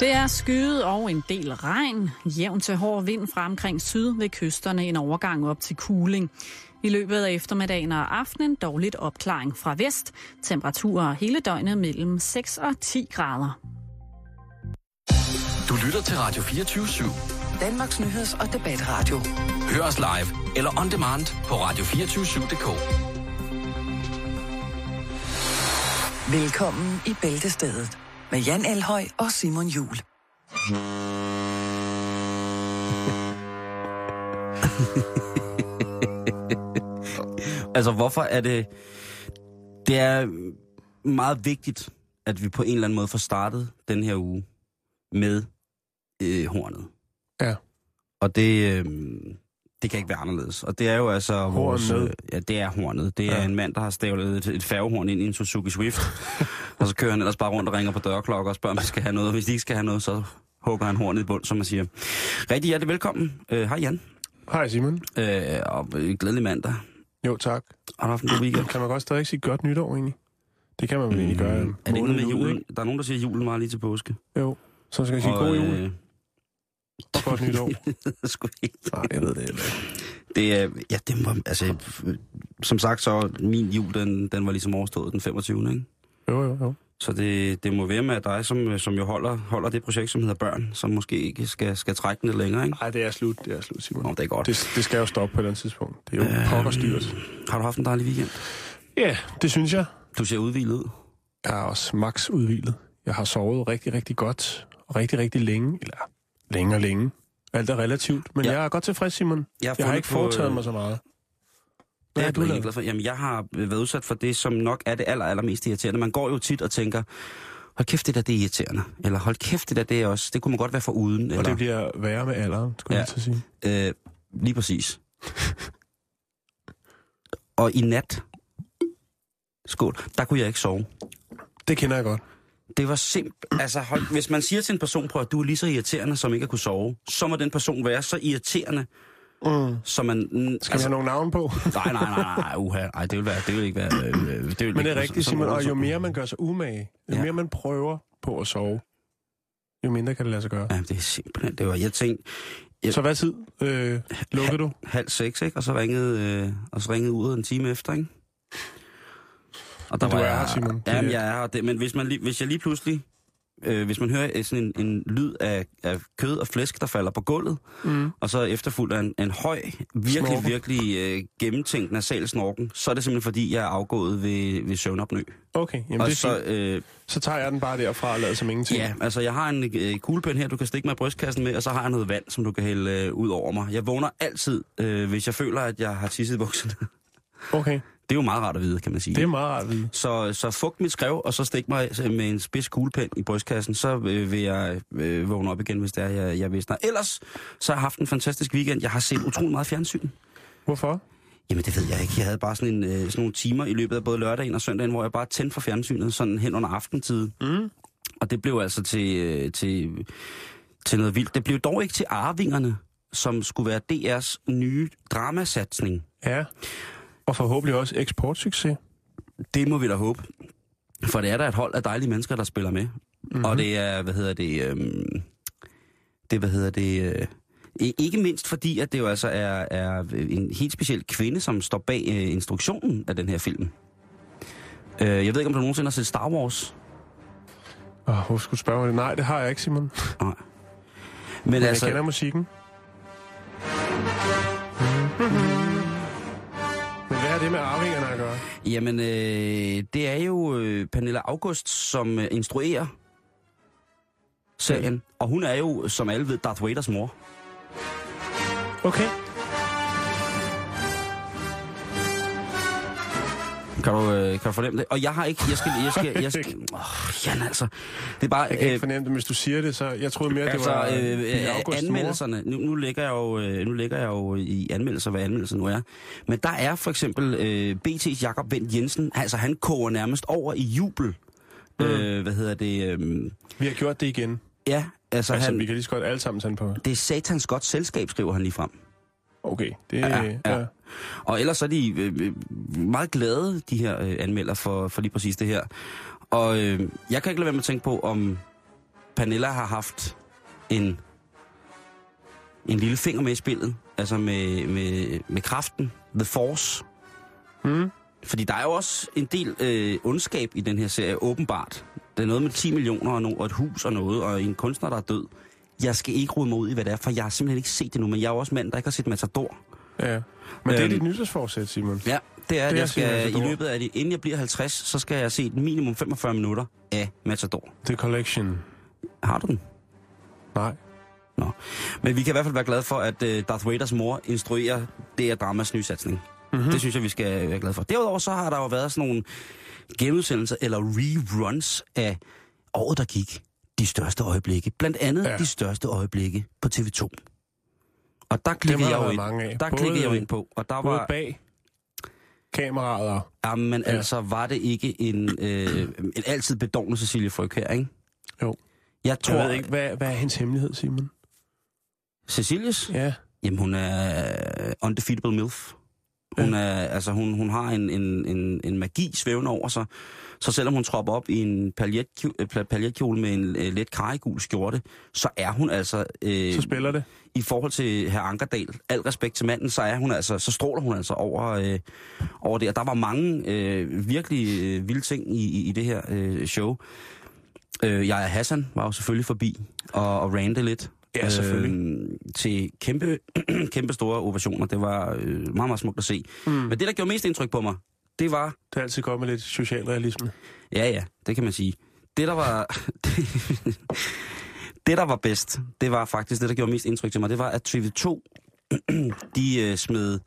Det er skyet og en del regn. Jævn til hård vind fra omkring syd ved kysterne en overgang op til kuling. I løbet af eftermiddagen og aftenen dårligt opklaring fra vest. Temperaturer hele døgnet mellem 6 og 10 grader. Du lytter til Radio 24 /7. Danmarks Nyheds- og Debatradio. Hør os live eller on demand på radio247.dk. Velkommen i Bæltestedet med Jan Elhøj og Simon Jul. Altså, hvorfor er det... Det er meget vigtigt, at vi på en eller anden måde får startet den her uge med øh, hornet. Ja. Og det, øh, det kan ikke være anderledes. Og det er jo altså vores... Hornet. Øh, ja, det er hornet. Det er Ja. ja. en mand, der har stavlet et, et færgehorn ind i en Suzuki Swift. og så kører han ellers bare rundt og ringer på dørklokker og spørger, om de skal have noget. Og hvis de ikke skal have noget, så hugger han hornet i bund, som man siger. Rigtig hjertelig velkommen. Øh, Hej Jan. Hej Simon. Øh, og øh, glædelig mandag. Jo, tak. Har du haft en god weekend? Kan man godt stadig sige godt nytår egentlig? Det kan man vel egentlig gøre. Mm. er det ikke noget med måneden ud, julen? ikke? Der er nogen, der siger, at julen var lige til påske. Jo. Så skal jeg sige Og, god jul øh, og godt nytår. sgu ikke. Nej, jeg ved det heller ikke. Det er, ja, det var, altså, øh, som sagt, så min jul, den, den var ligesom overstået den 25. Ikke? Jo, jo, jo. Så det, det må være med dig, som, øh, som jo holder, holder det projekt, som hedder Børn, som måske ikke skal, skal trække den lidt længere, ikke? Nej, det er slut. Det er slut, Simon. Nå, det er godt. Det, det skal jo stoppe på et eller andet tidspunkt. Det er jo Øhm. pokkerstyret. Har du haft en dejlig weekend? Ja, det synes jeg. Du ser udvildet ud. Jeg er også max udvilet. Jeg har sovet rigtig, rigtig godt. Og rigtig, rigtig længe. Eller længe og længe. Alt er relativt. Men Ja. ja. jeg er godt tilfreds, Simon. Jeg har Jeg har fundet ikke på, øh, foretaget mig så meget. Det er har jeg du blevet lavet? glad for. Jamen, jeg har øh, været udsat for det, som nok er det aller, allermest irriterende. Man går jo tit og tænker, hold kæft, det der, det er irriterende. Eller hold kæft, det der, det er også. Det kunne man godt være for uden. Og det Eller, bliver værre med alderen, skulle ja. Ja. jeg til at sige. øh, lige præcis. og i nat, skål, der kunne jeg ikke sove. Det kender jeg godt. Det var simpelthen... Altså, hold, hvis man siger til en person, prøv at du er lige så irriterende, som ikke at kunne sove, så må den person være så irriterende, Mm. som man... Mm, Skal altså, vi have nogle navne på? nej, nej, nej, nej, uha. Ej, det vil, være, det vil ikke være... Øh, øh, det vil Men det ikke- er rigtigt, så- så- Simon. Og så- jo mere man gør sig umage, jo Ja. mere man prøver på at sove, jo mindre kan det lade sig gøre. Ja, det er simpelthen... Det var, jeg tænkte, Ja. Så hvad tid øh, lukker du? halv seks, ikke? Og så ringede, øh, og så ringede uret en time efter, ikke? Og Men du er her, Simon. Det er- Jamen, jeg er her. Det, men hvis, man lige, hvis jeg lige pludselig... Øh, hvis man hører øh, sådan en, en lyd af, af kød og flæsk, der falder på gulvet, Mm. og så efterfulgt af en, en høj, virkelig, Snorken. virkelig øh, gennemtænkt nasal snorken, så er det simpelthen fordi, jeg er afgået ved, ved søvnopnø. Okay, jamen og det er så, så, øh, så tager jeg den bare derfra og lader som ingenting. ja, altså jeg har en øh, kuglepen her, du kan stikke mig i brystkassen med, og så har jeg noget vand, som du kan hælde øh, ud over mig. Jeg vågner altid, øh, hvis jeg føler, at jeg har tisset i bukserne. Okay, Det er jo meget rart at vide, kan man sige. det er meget rart. at vide. Så, så fugt mit skrev, og så stik mig øh, med en spids kuglepen i brystkassen, så øh, vil jeg øh, vågne op igen, hvis det er, jeg, jeg visner. Ellers, så har jeg haft en fantastisk weekend. Jeg har set utrolig meget fjernsyn. Hvorfor? Jamen det ved jeg ikke. Jeg havde bare sådan, en, øh, sådan nogle timer i løbet af både lørdagen og søndagen, hvor jeg bare tændte for fjernsynet sådan hen under aftentid. Mm. Og det blev altså til, øh, til, til noget vildt. Det blev dog ikke til Arvingerne, som skulle være DR's nye dramasatsning. Ja, og forhåbentlig også eksportsucces. Det må vi da håbe. For det er der et hold af dejlige mennesker, der spiller med. Mhm. Mm-hmm. Og det er, hvad hedder det, øhm, det hvad hedder det, øh, i- ikke mindst fordi, at det jo altså er, er en helt speciel kvinde, som står bag øh, instruktionen af den her film. Øh, jeg ved ikke, om du nogensinde har set Star Wars. Åh, hvorfor skulle du spørge mig det? Nej, det har jeg ikke, Simon. Men, Nej. Men, Men altså... jeg altså, kender musikken. Mm-hmm. Men hvad har det med arvingerne at gøre? jamen, øh, det er jo øh, Pernille August, som øh, instruerer serien. Og hun er jo, som alle ved, Darth Vaders mor. Okay. Kan du, øh, kan du fornemme det? Og jeg har ikke... Jeg skal... Jeg skal, jeg skal åh, Jan, altså. Det er bare... Jeg kan ikke fornemme det, hvis du siger det, så jeg troede mere, det Øh, altså, var øh, Pernille øh, Augusts mor. anmeldelserne. Nu, nu, ligger jeg jo, øh, nu ligger jeg jo i anmeldelser, hvad anmeldelser nu er. Men der er for eksempel øh, BT's Jakob Vendt Jensen. Altså, han koger nærmest over i jubel. Mm. Øh, hvad hedder det? Øh, Vi har gjort det igen. ja, altså, Altså, han, vi kan lige så godt alle sammen tage den på. det er satans godt selskab, skriver han lige frem. Okay, det Ja, er... ja, Ja, ja. ja. Og ellers er de øh, øh, meget glade, de her øh, anmelder, for, for lige præcis det her. Og øh, jeg kan ikke lade være med at tænke på, om Pernilla har haft en, en lille finger med i spillet, altså med, med, med kraften, The Force. Mm. Fordi der er jo også en del øh, ondskab i den her serie, åbenbart. Der er noget med 10 millioner og, no- og et hus og noget, og en kunstner, der er død. Jeg skal ikke rode mig ud i, hvad det er, for jeg har simpelthen ikke set det nu, men jeg er jo også mand, der ikke har set Matador. Ja. Men det er Øhm. dit nytårsforsæt, Simon. Ja, det er, Det at er jeg simpelthen skal i Matador. løbet af det, inden jeg bliver 50, så skal jeg se minimum 45 minutter af Matador. The Collection. Har du den? Nej. Nå. Men vi kan i hvert fald være glade for, at øh, Darth Vaders mor instruerer det her dramas nye satsning. Mhm. Mm-hmm. Det synes jeg, vi skal være glade for. Derudover så har der jo været sådan nogle genudsendelser eller reruns af året, der gik. De største øjeblikke. Blandt andet ja. Ja. de største øjeblikke på TV2. Og der Dem klikkede har jeg der jo været ind. mange af. Der Både- klikkede jeg jo ind på, og der Både var... bag kameraet og... Jamen ja. Ja. altså, var det ikke en, øh, en altid bedovende Cecilie Fryg her, ikke? Jo. Jeg tror... Jeg ved ikke, hvad, hvad er hendes hemmelighed, Simon? Cecilies? Ja. Jamen, hun er øh, undefeatable milf. Hun, er, altså, hun, hun har en, en, en, en magi svævende over sig, så selvom hun tropper op i en paljetkjole, øh, pal- paljetkjole med en øh, let karregul skjorte, så er hun altså, øh, Så spiller det. i forhold til herr Ankerdal, al respekt til manden, så, er hun altså, så stråler hun altså over, øh, over det. Og der var mange øh, virkelig øh, vilde ting i, i, i det her øh, show. Øh, jeg Hassan var jo selvfølgelig forbi og, og rante lidt. Ja, selvfølgelig. Øh, til kæmpe, kæmpe store ovationer. Det var øh, meget, meget smukt at se. Mm. Men det, der gjorde mest indtryk på mig, det var... Det er altid godt med lidt socialrealisme. Ja, ja, det kan man sige. Det, der var... det, der var bedst, det var faktisk det, der gjorde mest indtryk til mig. Det var, at TV2, de øh, smed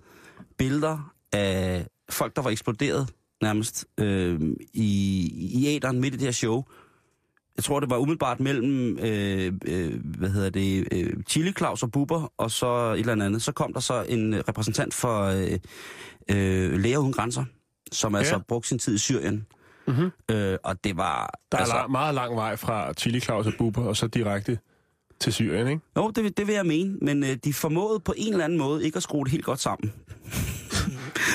billeder af folk, der var eksploderet nærmest øh, i, i æderen midt i det her show. Jeg tror, det var umiddelbart mellem, øh, øh, hvad hedder det, øh, Chili Claus og Bubber, og så et eller andet. Så kom der så en øh, repræsentant for øh, øh, Læger Uden Grænser, som ja. altså brugte sin tid i Syrien. Mhm. Øh, og det var... Der altså, er altså... lang, meget lang vej fra Chili Claus og Bubber, og så direkte til Syrien, ikke? Jo, det, vil- det vil jeg mene, men øh, de formåede på en eller anden måde ikke at skrue det helt godt sammen.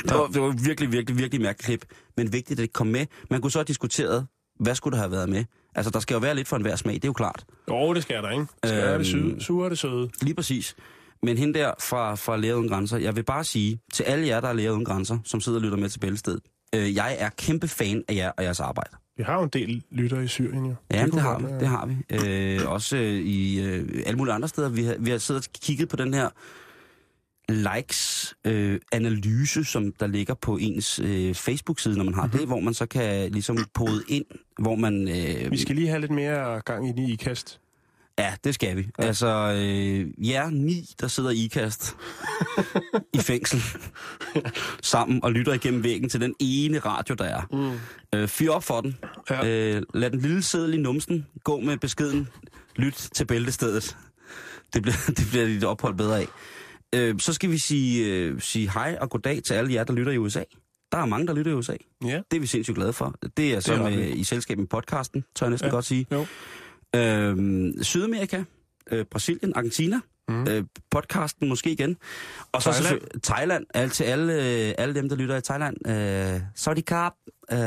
det, var, det var virkelig, virkelig, virkelig mærkeligt klip, men vigtigt, at det kom med. Man kunne så have diskuteret, hvad skulle der have været med? Altså, der skal jo være lidt for enhver smag, det er jo klart. Jo, det skal der, ikke? Det skal Øhm. øhm... være det syde, sure og det søde. Lige præcis. Men hende der fra, fra Læger Uden Grænser, jeg vil bare sige til alle jer, der er Læger Uden Grænser, som sidder og lytter med til Bæltested, øh, jeg er kæmpe fan af jer og jeres arbejde. Vi har jo en del lytter i Syrien, jo. Ja, det, kunne det har godt vi. være- Det har vi. Øh, også øh, i øh, alle mulige andre steder. Vi har, vi har siddet og kigget på den her likes-analyse, som der ligger på ens øh, Facebook-side, når man Mhm. har mm-hmm. det, hvor man så kan ligesom pode ind, hvor man... Øh, Vi skal lige have lidt mere gang ind i ikast. Ja, det skal vi. Ja. Altså, øh, jer ni, der sidder i ikast i fængsel sammen og lytter igennem væggen til den ene radio, der er. Mm. Øh, fyr op for den. Ja. Ja. Øh, lad den lille sædel i numsen gå med beskeden. Lyt til bæltestedet. Det bliver, det bliver dit ophold bedre af. Øh, så skal vi sige, øh, sige hej og goddag til alle jer, der lytter i USA. Der er mange, der lytter i USA. Ja. Det er vi sindssygt glade for. Det er så er ret med, vildt. i selskab med podcasten, tør jeg næsten ja. Ja. godt sige. Jo. Øhm, Sydamerika, øh, Brasilien, Argentina, mm. øh, podcasten måske igen. Og så Thailand. selvfølgelig- Thailand, alt til alle, øh, alle dem, der lytter i Thailand. Øh, Saudi Carp. Øh,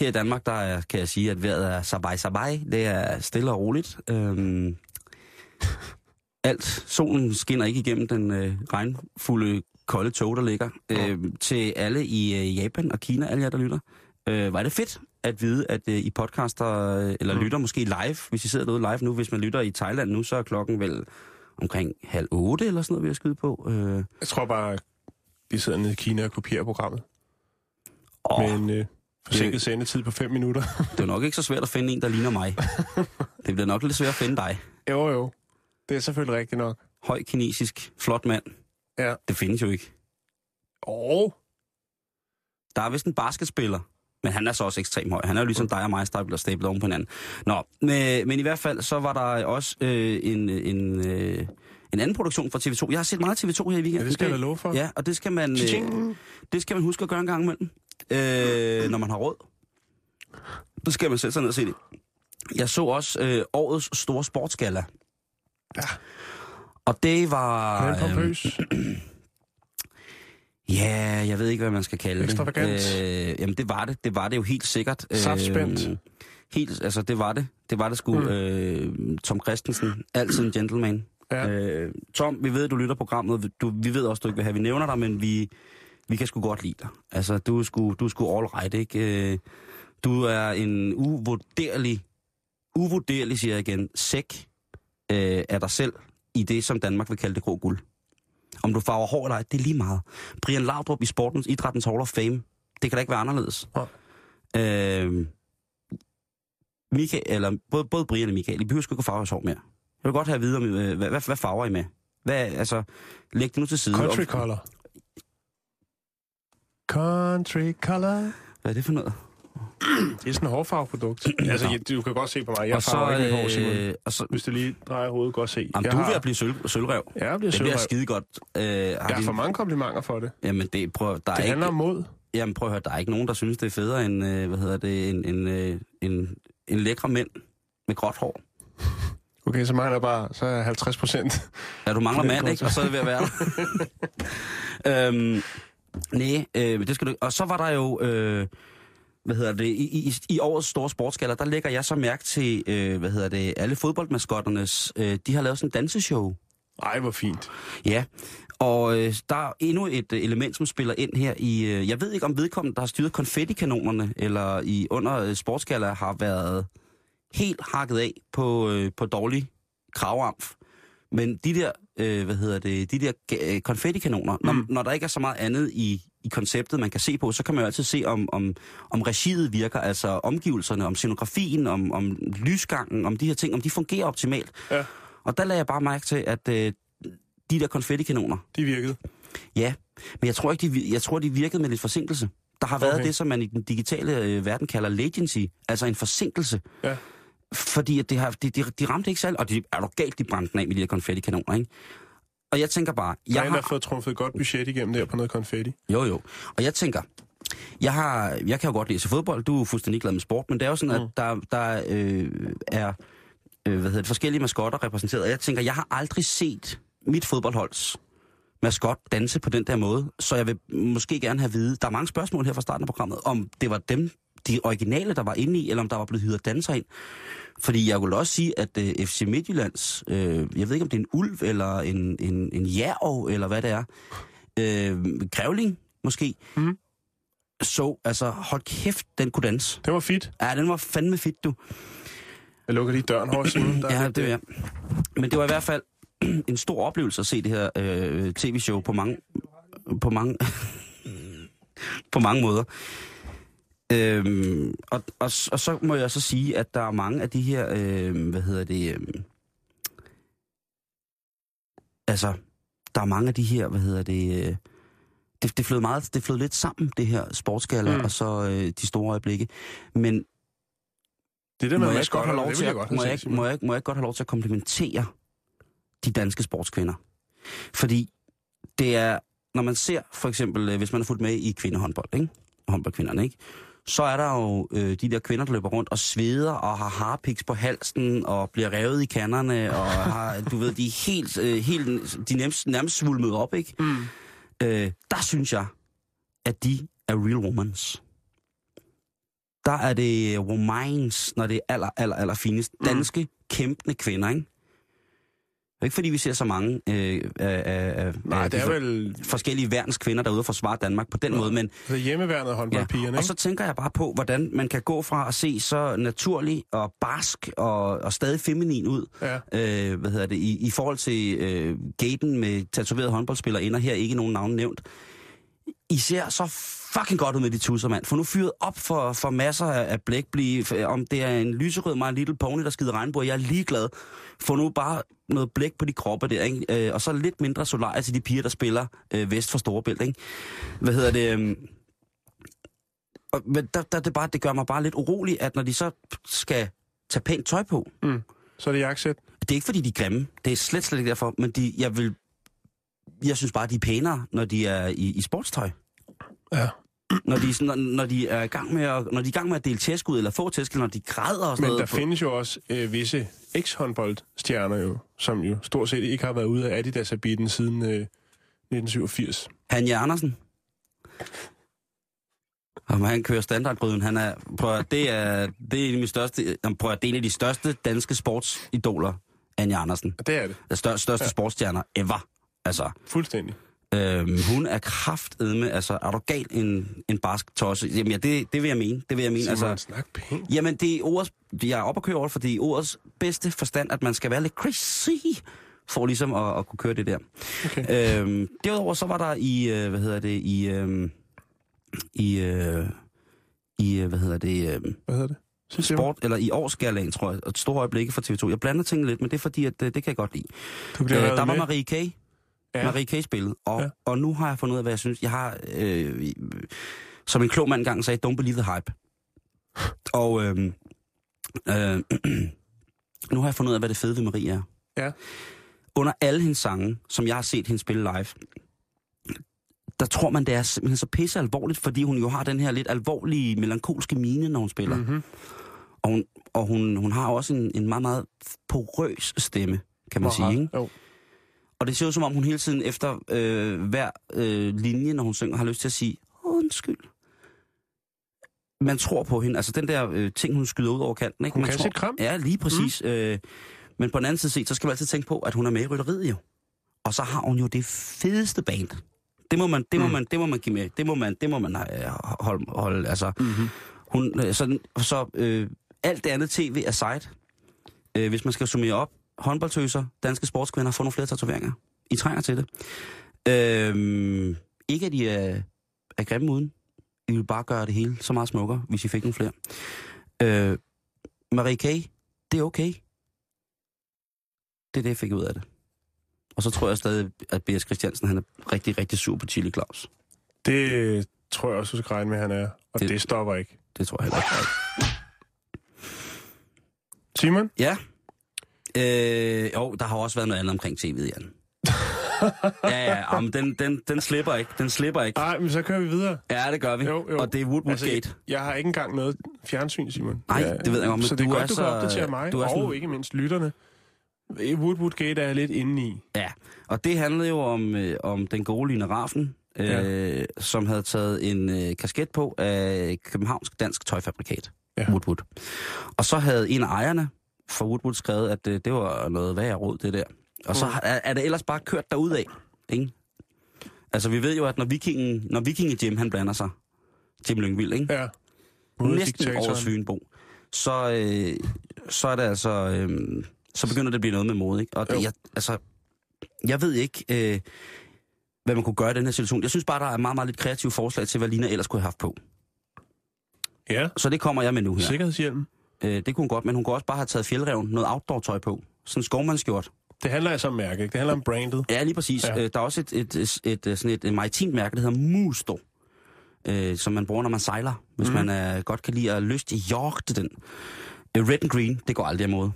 her i Danmark, der er, kan jeg sige, at vejret er sabai sabai. Det er stille og roligt. Øh, alt. Solen skinner ikke igennem den øh, regnfulde, kolde tog, der ligger. Øh, til alle i øh, Japan og Kina, alle jer, der lytter. Øh, var det fedt at vide, at øh, I podcaster, øh, eller mm. lytter måske live, hvis I sidder derude live nu. Hvis man lytter i Thailand nu, så er klokken vel omkring halv otte eller sådan noget, vi har skyde på. Øh, Jeg tror bare, de sidder nede i Kina og kopierer programmet. åh, Med en øh, forsinket sendetid på 5 minutter. det er jo nok ikke så svært at finde en, der ligner mig. det bliver nok lidt svært at finde dig. jo, jo. Det er selvfølgelig rigtigt nok. Høj kinesisk, flot mand. Ja. Det findes jo ikke. Og Der er vist en basketspiller, men han er så også ekstremt høj. Han er jo Mm. ligesom dig og mig, stablet, stablet oven på hinanden. Nå, men, men i hvert fald, så var der også øh, en, en, øh, en anden produktion fra TV2. Jeg har set meget TV2 her i weekenden. ja, det skal jeg da love for. Ja, og det skal man, øh, Tjing. det skal man huske at gøre en gang imellem, øh, når man har råd. Så skal man sætte sig ned og se det. Jeg så også øh, årets store sportsgala. Ja. Og det var... Men øhm, pompøs. Ja, jeg ved ikke, hvad man skal kalde det. Ekstravagant. Øh, jamen, det var det. Det var det jo helt sikkert. Saftspændt. Øh, helt, altså det var det. Det var det sgu. Mm. Øh, Tom Christensen, altid en gentleman. Ja. Øh, Tom, vi ved, du lytter programmet. Du, vi ved også, du ikke vil have, vi nævner dig, men vi, vi kan sgu godt lide dig. Altså, du er sgu, du er sgu all right, ikke? Øh, du er en uvurderlig, uvurderlig, siger jeg igen, sæk øh, af dig selv i det, som Danmark vil kalde det grå guld. Om du farver hår eller ej, det er lige meget. Brian Laudrup i sportens idrættens Hall of Fame. Det kan da ikke være anderledes. Nej. Øh, Michael, eller både, både Brian og Michael, I behøver sgu ikke at farve jeres hår mere. Jeg vil godt have at vide, om, øh, hvad, hvad, hvad farver I med? Hvad, altså, læg det nu til side. Country Om- color. Country color. Hvad er det for noget? Det er sådan et hårfarveprodukt. altså, jeg, du kan godt se på mig. Jeg og farver så, ikke mit hår, Simon. øh, og så, Hvis du lige drejer hovedet, godt se. jamen, jeg du er har, ved at blive sølv, sølvrev. Det Ja, jeg bliver bliver sølvrøv. skide godt. Øh, har Jeg har de- for mange komplimenter for det. Jamen, det, prøv, der Det er handler ikke, om mod. jamen, prøv at høre, der er ikke nogen, der synes, det er federe end, øh, hvad hedder det, en, en, øh, en, en lækre mænd med gråt hår. Okay, så mangler bare så er 50 procent. Ja, du mangler Det er mand, godt, ikke? Og så er det ved at være der. øhm, nej, øh, det skal du ikke. Og så var der jo, øh, hvad hedder det, i, i, i årets store sportsgaller, der lægger jeg så mærke til, øh, hvad hedder det, alle fodboldmaskotternes, øh, de har lavet sådan en danseshow. Ej, hvor fint. Ja, og øh, der er endnu et øh, element, som spiller ind her i... Øh, jeg ved ikke, om vedkommende, der har styret konfettikanonerne, eller i under øh, sportsgaller, har været helt hakket af på, øh, på dårlig kravamf. Men de der, øh, hvad hedder det, de der øh, konfettikanoner, mm. når, når der ikke er så meget andet i, i konceptet, man kan se på, så kan man jo altid se, om, om, om regiet virker, altså omgivelserne, om scenografien, om, om lysgangen, om de her ting, om de fungerer optimalt. Ja. Og der lagde jeg bare mærke til, at øh, de der konfettikanoner, De virkede. ja, men jeg tror, ikke, de, vir- jeg tror, de virkede med lidt forsinkelse. Der har været Okay. det, som man i den digitale øh, verden kalder latency, altså en forsinkelse. Ja. Fordi at det har, de, de, de ramte ikke selv, og de er du galt, de brændte den af med de der konfettikanoner, ikke? Og jeg tænker bare, Jeg jeg har... har har... fået trumfet et godt budget igennem der på noget konfetti. Jo, jo. Og jeg tænker, jeg, har, jeg kan jo godt læse fodbold, du er fuldstændig glad med sport, men det er jo sådan, at der, der øh, er øh, hvad hedder det, forskellige maskotter repræsenteret. Og jeg tænker, jeg har aldrig set mit fodboldholds maskot danse på den der måde, så jeg vil måske gerne have at vide, der er mange spørgsmål her fra starten af programmet, om det var dem, de originale, der var inde i, eller om der var blevet hyret danser ind. Fordi jeg kunne også sige, at øh, FC Midtjyllands, øh, jeg ved ikke om det er en ulv, eller en, en, en jærov, eller hvad det er, øh, grævling måske, mm. så altså, hold kæft, den kunne danse. Det var fedt. Ja, den var fandme fedt, du. Jeg lukker lige døren hårdt siden. Der Ja, lidt- det øh, er jeg. Men det var i hvert fald en stor oplevelse at se det her øh, tv-show på mange, på mange, på mange måder. Øhm, og, og, s- og så må jeg så sige, at der er mange af de her, øh, hvad hedder det, øh, altså, der er mange af de her, hvad hedder det, øh, det, det flød meget, det flød lidt sammen, det her sportsgaller, mm. Mm. og så øh, de store øjeblikke. Men Det der må med jeg, ikke godt maskotter, have lov det til vil jeg at, godt må have jeg, set, ikke- må, Simon. jeg, ikke- må jeg ikke godt have lov til at komplimentere de danske sportskvinder? Fordi det er, når man ser for eksempel, øh, hvis man har fulgt med i kvindehåndbold, ikke? håndboldkvinderne, ikke? så er der jo øh, de der kvinder, der løber rundt og sveder og har harpiks på halsen og bliver revet i kannerne og har, du ved, de er helt, øh, helt de er nærmest, nærmest svulmet op, ikke? Mm. Øh, der synes jeg, at de er real womans. Der er det womans, når det er aller, aller, aller finest. Danske, mm. kæmpende kvinder, ikke? Det er ikke fordi, vi ser så mange øh, af, af, af Nej, af det de er for- vel forskellige værnskvinder, der er ude og forsvare Danmark på den måde, men altså, hjemmeværnet håndboldpigerne, og ikke? så tænker jeg bare på, hvordan man kan gå fra at se så naturlig og barsk og, og stadig feminin ud, Ja. øh, hvad hedder det, i, i forhold til øh, gaten med tatoverede håndboldspillere ender her ikke nogen navn nævnt. I ser så fucking godt ud med de tusser, mand. For nu fyret op for, for masser af af blæk, blive, f- om det er en lyserød My Little Pony, der skider regnbue, jeg er ligeglad. Få nu bare noget blæk på de kroppe der, ikke? Øh, og så lidt mindre solarie til de piger, der spiller øh, vest for Storebælt, ikke? Hvad hedder det? øhm, og, men der, der, det, bare, det gør mig bare lidt urolig, at når de så skal tage pænt tøj på, Så er det jakkesæt. det er ikke fordi, de er grimme. Det er slet, slet ikke derfor. Men de, jeg vil... Jeg synes bare, de er pænere, når de er i, i sportstøj. Ja. Når de, er sådan, når, når de er i gang med at, når de er i gang med at dele tæsk ud, eller få tæsk, eller når de græder og sådan Men der noget. på- findes jo også øh, visse eks-håndboldstjerner jo, som jo stort set ikke har været ude af Adidas-habiten siden øh, 1987. Hanja Andersen. Om han kører standardgryden, han er, prøv at, det er, det er, en af mine største, jamen, prøv at, det er en af de største danske sportsidoler, Anja Andersen. Og det er det. Den stør, største ja. sportsstjerner ever. Altså, Fuldstændig. øhm, hun er kraftedme, altså, er du gal en, en barsk tosse? Jamen, ja, det, det vil jeg mene, det vil jeg mene. Altså, man Altså, snak pænt. jamen, det er ordets, jeg er op og køre over, det, fordi i ordets bedste forstand, at man skal være lidt crazy, for ligesom at, at kunne køre det der. Okay. Øhm, derudover så var der i, øh, hvad hedder det, i, øhm, i, øh, i, øh, hvad hedder det, øhm, Hvad hedder det? Så siger sport, eller i årsgalaen, tror jeg, og et stort øjeblikke for TV2. Jeg blander tingene lidt, men det er fordi, at øh, det kan jeg godt lide. Du bliver Øh, revet der var med. Marie K. Ja. Ja. Marie K. spillet, og, Ja. ja. og nu har jeg fundet ud af, hvad jeg synes. Jeg har, øh, som en klog mand engang sagde, don't believe the hype. Og øh, øh, nu har jeg fundet ud af, hvad det fede ved Marie er. Ja. Under alle hendes sange, som jeg har set hende spille live, der tror man, det er simpelthen så pisse alvorligt, fordi hun jo har den her lidt alvorlige, melankolske mine, når hun spiller. Mhm. Og, hun, og hun, hun har også en, en meget, meget porøs stemme, kan man Hvor sige. rart. Ikke? Jo. Og det ser ud som om, hun hele tiden efter øh, hver øh, linje, når hun synger, har lyst til at sige, undskyld. Man tror på hende. Altså den der øh, ting, hun skyder ud over kanten. Ikke? Hun man kan tror, sit kram. Ja, lige præcis. Mm. Øh, men på den anden side set, så skal man altid tænke på, at hun er med i rytteriet jo. Og så har hun jo det fedeste band. Det må man, det Mm. må man, det må man give med. Det må man, det må man øh, holde, holde altså. Mm-hmm. Hun, øh, sådan, så øh, alt det andet tv er sejt. Øh, hvis man skal summere op, håndboldtøser, danske sportskvinder får nogle flere tatoveringer. I trænger til det. Øh, ikke at de er, er grimme uden. I vil bare gøre det hele så meget smukkere, hvis I fik nogle flere. Øh, Marie K., det er okay. Det er det, jeg fik ud af det. Og så tror jeg stadig, at B.S. Christiansen han er rigtig, rigtig sur på Chili Claus. Det øh, tror jeg også, du skal regne med, han er. Og det, Det- det stopper ikke. Det tror jeg heller ikke. Simon? Ja. Øh, jo, der har også været noget andet omkring tv'et, Jan. ja, ja, jamen, den, den, den slipper ikke. Den slipper ikke. Nej, men så kører vi videre. Ja, det gør vi. Ah. Jo, jo. Og det er Woodwood altså, Gate. jeg, jeg har ikke engang noget fjernsyn, Simon. Nej, Ja, det ved jeg godt, men Så det er du godt, er du kan så- opdatere mig, du er og sådan- ikke mindst lytterne. Eh, Woodwood Gate er jeg lidt inde i. Ja, og det handlede jo om, øh, om den gode Line Raffen, øh, ja. som havde taget en øh, kasket på af Københavnsk Dansk Tøjfabrikat, Ja. ja. Woodwood. Og så havde en af ejerne fra Woodwood skrevet, at øh, det var noget værd råd, det der. Og så har- er, er det ellers bare kørt derudad, ikke? Altså, vi ved jo, at når vikingen, når vikingen Jim, han blander sig, Jim Lyngvild, ikke? Ja. næsten over Svinebo, så, øh, så er det altså, øh, så begynder det at blive noget med mode, ikke? Og Jo. det, jeg, altså, jeg ved ikke, øh, hvad man kunne gøre i den her situation. Jeg synes bare, der er meget, meget lidt kreative forslag til, hvad Lina ellers kunne have haft på. Ja. Så det kommer jeg med nu her. Sikkerhedshjelm. Øh, det kunne hun godt, men hun kunne også bare have taget fjeldreven, noget outdoor-tøj på. Sådan en skovmandskjort. Det handler altså om mærke, ikke? Det handler om brandet. Ja, lige præcis. Ja. Ja. Øh, der er også et, et, et, et, øh, sådan et, et maritimt mærke, der hedder Musto, øh, som man bruger, når man sejler, hvis mm. man øh, godt kan lide at lyst i jagte den. Øh, Red and green, det går aldrig af mode.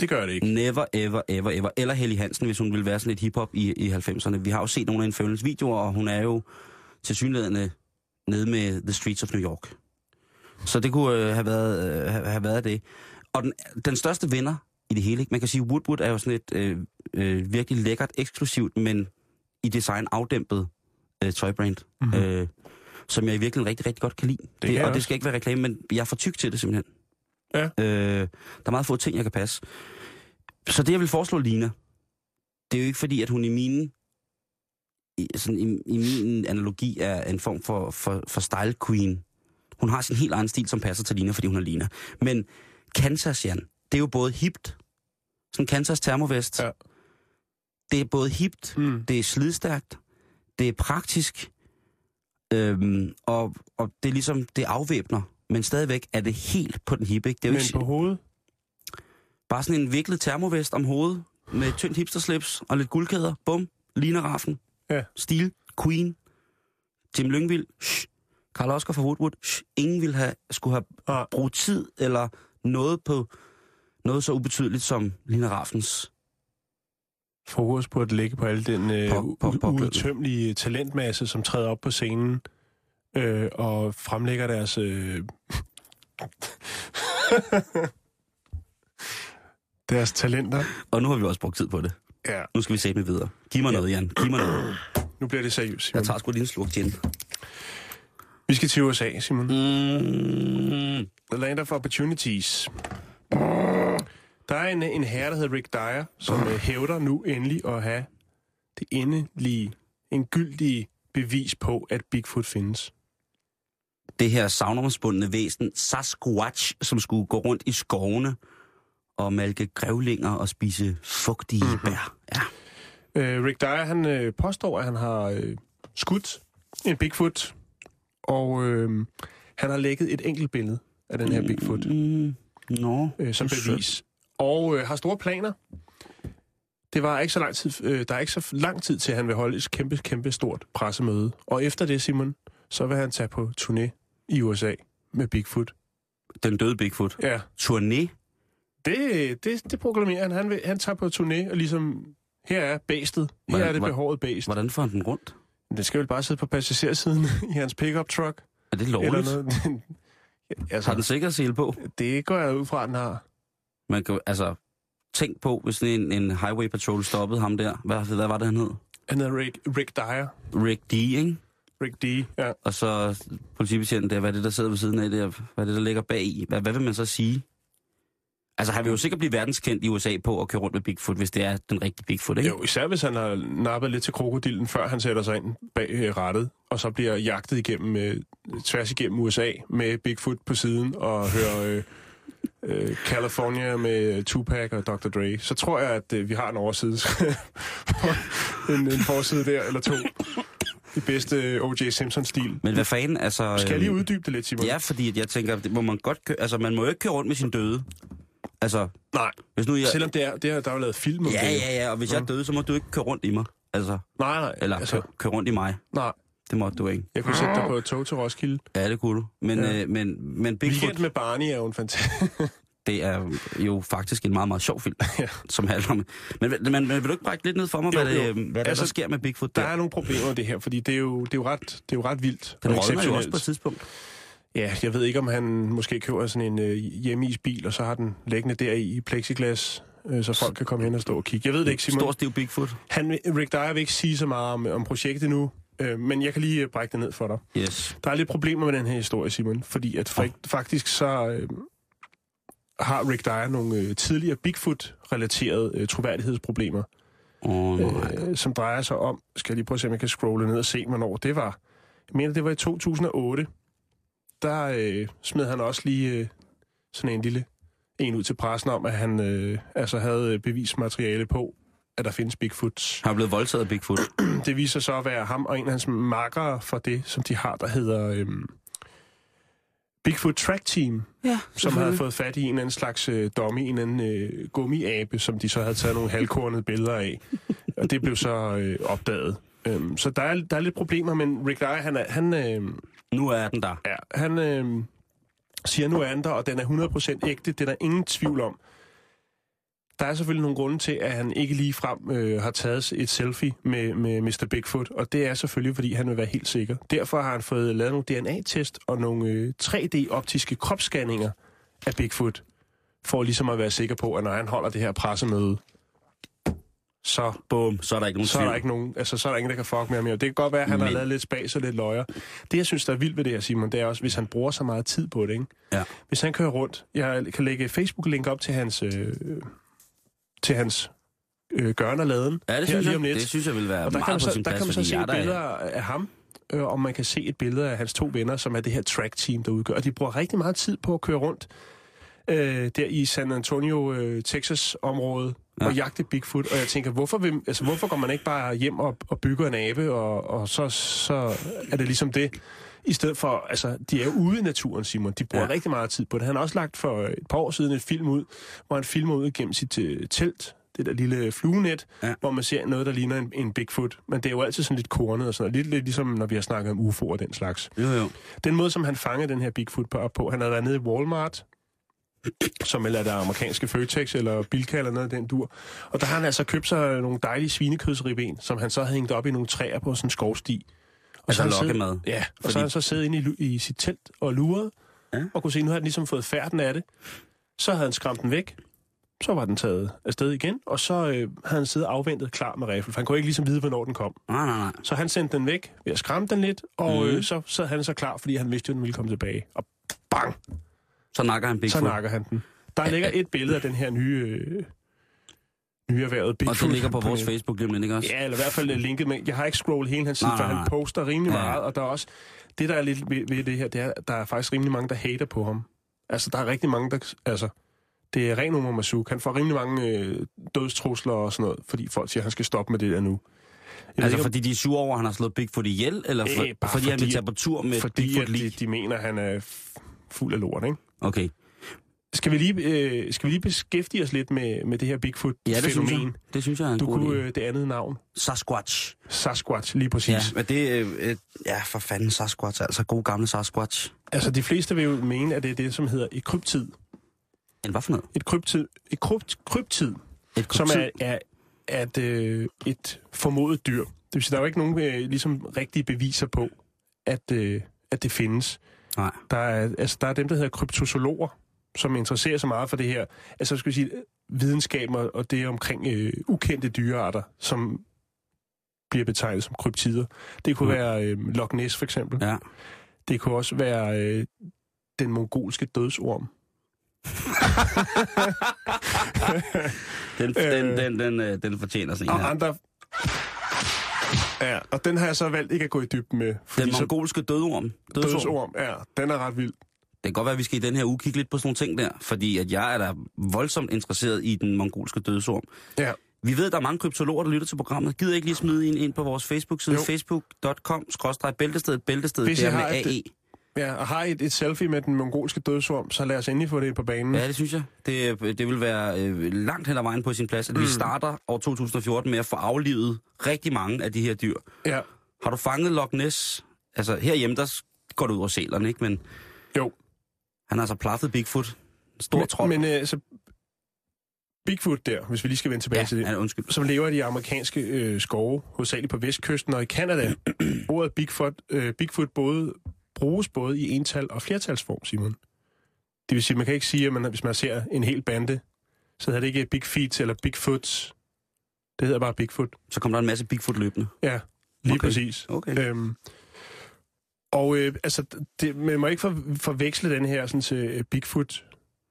Det gør det ikke. Never, ever, ever, ever. Eller Helly Hansen, hvis hun ville være sådan lidt hiphop i, i 90'erne. Vi har jo set nogle af hendes videoer, og hun er jo til synlædende nede med The Streets of New York. Så det kunne øh, have, været, øh, have, have været det. Og den, den største vinder i det hele, ikke? man kan sige, Woodwood er jo sådan et øh, øh, virkelig lækkert, eksklusivt, men i design afdæmpet øh, tøjbrand, Mhm. mm-hmm. øh, som jeg i virkeligheden rigtig, rigtig godt kan lide. Det kan jeg det, og også. det skal ikke være reklame, men jeg er for tyk til det simpelthen. Ja. Øh, der er meget få ting, jeg kan passe. Så det, jeg vil foreslå Lina, det er jo ikke fordi, at hun i mine i, sådan i, i min analogi er en form for, for, for style queen. Hun har sin helt egen stil, som passer til Lina, fordi hun er Lina. Men Kansas, Jan, det er jo både hipt, sådan Kansas termovest, Ja. det er både hipt, Mm. det er slidstærkt, det er praktisk, øhm, og, og det er ligesom, det afvæbner. Men stadigvæk er det helt på den hippe, ikke? Det er jo Men ikke på hovedet, bare sådan en viklet termovest om hovedet, med et tyndt hipsterslips og lidt guldkæder. Bum, ligner raffen. Ja. Stil, Queen, Tim Lyngvild, shh. Karl Oskar fra Woodwood, shh. Ingen ville have, skulle have Nej. brugt tid eller noget på noget så ubetydeligt som Lina Raffens. fokus på at ligge på al den øh, På- på- på- uudtømmelige talentmasse, som træder op på scenen øh, og fremlægger deres... Øh, deres talenter. Og nu har vi også brugt tid på det. Ja, Nu skal vi se med videre. Giv mig noget, Jan. Giv mig noget. nu bliver det seriøst. Simon. Jeg tager sgu lige en slurk gin. Vi skal til USA, Simon. Mm. The Land of Opportunities. Der er en, en herre, der hedder Rick Dyer, som øh, hævder nu endelig at have det endelige, en gyldige bevis på, at Bigfoot findes. Det her savnomsbundne væsen, Sasquatch, som skulle gå rundt i skovene og malke grævlinger og spise fugtige Mhm. mm-hmm. bær. Ja. Øh, Rick Dyer, han øh, påstår, at han har øh, skudt en Bigfoot, og øh, han har lægget et enkelt billede af den her Bigfoot. Mm. Nå. øh, som Det er bevis. Og øh, har store planer. Det var ikke så lang tid, øh, der er ikke så lang tid til, at han vil holde et kæmpe, kæmpe stort pressemøde. Og efter det, Simon, så vil han tage på turné i USA med Bigfoot. Den døde Bigfoot. Ja, Turné. det, det, det proklamerer han. Han, vil, han tager på turné og ligesom, her er bæstet. Her Hvordan- er det hvor- behåret bæst. Hvordan får han den rundt? Den skal vel bare sidde på passagersiden i hans pickup truck. Er det lovligt? Eller noget. Har den altså, sikkerhedssele på? det går jeg ud fra, at den har. Man kan, altså, tænk på, hvis sådan en, en highway patrol stoppede ham der. Hvad, hvad var det, han hed? Han hedder Rick, Rick Dyer. Rick D, ikke? Rick D. Ja. Og så politibetjenten der, hvad er det, der sidder ved siden af det? Hvad er det, der ligger bag i? Hvad, hvad vil man så sige? Altså, han vil jo sikkert blive verdenskendt i USA på at køre rundt med Bigfoot, hvis det er den rigtige Bigfoot, ikke? Jo, især hvis han har nappet lidt til krokodillen, før han sætter sig ind bag øh, rattet, og så bliver jagtet igennem, øh, tværs igennem USA med Bigfoot på siden og hører øh, øh, California med Tupac og Dr. Dre. Så tror jeg, at øh, vi har en overside. en, en forside der, eller to. I bedste øh, O.J. Simpson-stil. Men hvad fanden, altså... Skal jeg lige øhm, uddybe det lidt, Simon? Ja, fordi at jeg tænker, det må man godt køre, altså man må jo ikke køre rundt med sin døde. Altså, Nej, hvis nu jeg... selvom det er, det er, der er jo lavet film om Ja, det. ja, ja, og hvis jeg er døde, så må du ikke køre rundt i mig. Altså, Nej, nej. eller altså. altså, køre, køre rundt i mig. nej. Det må du ikke. Jeg kunne sætte dig på et tog til Roskilde. Ja, det kunne du. Men, ja. øh, men, men Bigfoot, Weekend med Barney er jo en fantastisk... det er jo faktisk en meget, meget sjov film, ja. som handler om... Men, men, men vil du ikke brække lidt ned for mig, Jo, jo, hvad, det, jo. øh, hvad altså, Altså, der sker med Bigfoot Der der? er nogle problemer med det her, fordi det er jo, det er jo, ret, det er jo ret vildt. Den og rådner jo også exceptionelt. på et tidspunkt. Ja, jeg ved ikke, om han måske køber sådan en øh, hjemmeisbil, og så har den læggende der i, i plexiglas, øh, så folk kan komme hen og stå og kigge. Jeg ved det ikke, Simon. Stor stiv Bigfoot. Han, vil- Rick Dyer vil ikke sige så meget om, om projektet nu, øh, men jeg kan lige øh, brække det ned for dig. Yes. Der er lidt problemer med den her historie, Simon, fordi at fakt, faktisk så øh, har Rick Dyer nogle øh, tidligere Bigfoot-relaterede øh, troværdighedsproblemer. Oh, nej. øh, som drejer sig om, skal jeg lige prøve at se, om jeg kan scrolle ned og se, hvornår det var. Jeg mener, det var i 2008. Der øh, smed han også lige øh, sådan en lille en ud til pressen om, at han øh, altså havde øh, bevismateriale på, at der findes Bigfoots. Han er blevet voldtaget af Bigfoot. Det viser sig så at være ham og en af hans makkere for det, som de har, der hedder øh, Bigfoot Track Team, ja, som havde fået fat i en eller anden slags øh, dummy, en eller anden øh, gummiabe, som de så havde taget nogle halvkornede billeder af. Og det blev så øh, opdaget. Øhm, så der er, der er lidt problemer, men Rick Dyer, han, er, han, øh, Nu er den der. ja, han øh, siger, nu er han der, og den er 100% ægte. Det er der ingen tvivl om. Der er selvfølgelig nogle grunde til, at han ikke lige frem øh, har taget et selfie med, med Mr. Bigfoot, og det er selvfølgelig, fordi han vil være helt sikker. Derfor har han fået lavet nogle DNA-test og nogle øh, 3D-optiske kropsscanninger af Bigfoot, for ligesom at være sikker på, at når han holder det her pressemøde, så Bum, så er der ikke nogen så er tvivl. der ikke nogen, altså, så er der ingen, der kan fuck med ham. mere. Det kan godt være, at han Men... har Men- lavet lidt spas og lidt løjer. Det, jeg synes, der er vildt ved det her, Simon, det er også, hvis han bruger så meget tid på det, ikke? Ja. Hvis han kører rundt, jeg kan lægge Facebook-link op til hans, øh, til hans øh, gørn og laden. Ja, det her synes, lige jeg, om lidt. det synes jeg vil være og der meget kan man på så, sin der plads, kan man så fordi se jeg er der- billeder af ham, øh, og man kan se et billede af hans to venner, som er det her track-team, der udgør. Og de bruger rigtig meget tid på at køre rundt øh, der i San Antonio, øh, Texas-området, ja. og jagte Bigfoot. Og jeg tænker, hvorfor, vil, altså, hvorfor går man ikke bare hjem og, og bygger en abe, og, og så, så er det ligesom det. I stedet for, altså, de er jo ude i naturen, Simon. De bruger Ja. ja. rigtig meget tid på det. Han har også lagt for øh, et par år siden et film ud, hvor han filmer ud gennem sit øh, telt, det der lille fluenet, Ja. ja. hvor man ser noget, der ligner en, en Bigfoot. Men det er jo altid sådan lidt kornet og sådan noget. Lidt, lidt ligesom, når vi har snakket om UFO og den slags Jo, jo. den måde, som han fangede den her Bigfoot på, op på, han havde været nede i Walmart, som eller der amerikanske Føtex eller Bilka eller noget af den dur. Og der har han altså købt sig nogle dejlige svinekødsribben, som han så havde hængt op i nogle træer på sådan en skovsti. Og Altså har han siddet- lokkemad. Ja, og Fordi- så har han så siddet inde i, lu- i sit telt og luret, Ja. ja. og kunne se, nu har han ligesom fået færden af det. Så havde han skræmt den væk. så var den taget afsted igen, og så øh, havde han siddet afventet klar med riffel, for han kunne ikke ligesom vide, hvornår den kom. Nej, nej, nej. Så han sendte den væk ved at skræmme den lidt, og Mhm. øh, så sad han så klar, fordi han vidste, jo, at den ville komme tilbage. Og bang, Så nakker han så Bigfoot. nakker han den. Der ligger et billede af den her nye, øh, nye erhvervet Og Bigfoot. det ligger på vores nettet. Facebook lige om lidt, ikke også? Ja, eller i hvert fald øh, linket, men jeg har ikke scrollet hele hans side, Nej, for nej, han nej. poster rimelig Ja, ja. meget, og der er også, det der er lidt ved, ved det her, det er, at der er faktisk rimelig mange, der hater på ham. Altså, der er rigtig mange, der, altså, det er ren Omar Masuk. Han får rimelig mange øh, dødstrusler og sådan noget, fordi folk siger, at han skal stoppe med det der nu. Jeg Altså ved fordi de er sure over, at han har slået Bigfoot ihjel, eller for, Øh, bare fordi, han vil fordi- tage på tur med ikke, fordi fordi Bigfoot at lige? de, de mener, at han er f- fuld af lort, ikke? Okay. Skal vi lige, øh, skal vi lige beskæftige os lidt med, med det her Ja, det synes Bigfoot-fænomen? jeg. Det synes jeg er en du god kunne idé. øh, det andet navn. Sasquatch. Sasquatch, lige præcis. Ja, men det, øh, øh, ja, for fanden Sasquatch, altså god gamle Sasquatch. Altså, de fleste vil jo mene, at det er det, som hedder et kryptid. En hvad for noget? et kryptid, et krypt, kryptid, Et som kryptid. er, er at, øh, et formodet dyr. Det vil sige, der er jo ikke nogen øh, ligesom, rigtige beviser på, at, øh, at det findes. Nej. Der er, altså, der er dem, der hedder kryptozoologer, som interesserer sig meget for det her. Altså, skal vi sige, videnskaben og og det omkring øh, ukendte dyrearter, som bliver betegnet som kryptider. Det kunne Ja. være øh, Loch Ness, for eksempel. Mm. Ja. Det kunne også være øh, den mongolske dødsorm. Den, Øh. den, den, den, øh, den fortjener sådan en og her. andre... Ja, og den har jeg så valgt ikke at gå i dybden med. Fordi Den så mongolske dødorm. Dødsorm. dødsorm, ja, den er ret vild. Det kan godt være, at vi skal i den her uge kigge lidt på sådan nogle ting der, fordi at jeg er da voldsomt interesseret i den mongolske dødsorm. Ja. Vi ved, at der er mange kryptologer, der lytter til programmet. Gider I ikke lige smide en ind på vores Facebook-side? Jo. facebook.com bæltestedet bæltestedet Hvis I der med E. har et- AE. Ja, og har I et, et selfie med den mongolske dødsorm, så lad os endelig få det på banen. Ja, det synes jeg. Det, det vil være øh, langt hen ad vejen på sin plads, at mm. vi starter år 2014 med at få aflivet rigtig mange af de her dyr. Ja, Har du fanget Loch Ness? Altså, herhjemme, der s- går det ud over sælerne, ikke? Men jo. han har altså plaffet Bigfoot. En Stor trold. Men, men øh, så Bigfoot der, hvis vi lige skal vende tilbage ja, til altså, det. han, undskyld. som lever i de amerikanske øh, skove, hovedsageligt på vestkysten og i Kanada. Ordet Bigfoot, øh, Bigfoot både, bruges både i ental og flertalsform, Simon. Det vil sige, man kan ikke sige, at man, hvis man ser en hel bande, så hedder det ikke Big Feet eller Bigfoots. Det hedder bare Bigfoot. Så kom der en masse Bigfoot løbende. Ja, lige Okay. okay. præcis. Okay. Øhm, og øh, altså, det, man må ikke for, forveksle den her sådan, til øh, Bigfoot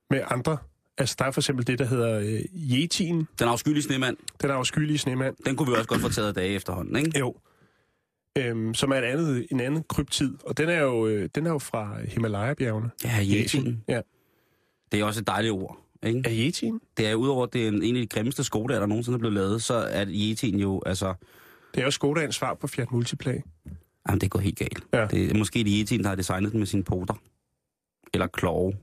med andre. Altså, der er for eksempel det, der hedder øh, Yetien, Den afskyelige snemand, den afskyelige snemand. den kunne vi også godt få taget af dage efterhånden, ikke? Jo. Øhm, som er et andet, en anden kryptid. Og den er jo, øh, den er jo fra Himalaya-bjergene. Ja, Yetien. Ja. Det er også et dejligt ord, ikke? Er Yetien? Det er udover, at det er en, en af de grimmeste skodager, der nogensinde er blevet lavet, så er Yetien jo, altså... Det er jo Skodans svar på Fiat Multiplay. Jamen, det går helt galt. Ja. Det er måske det Yetien, der har designet den med sine poter. Eller klove.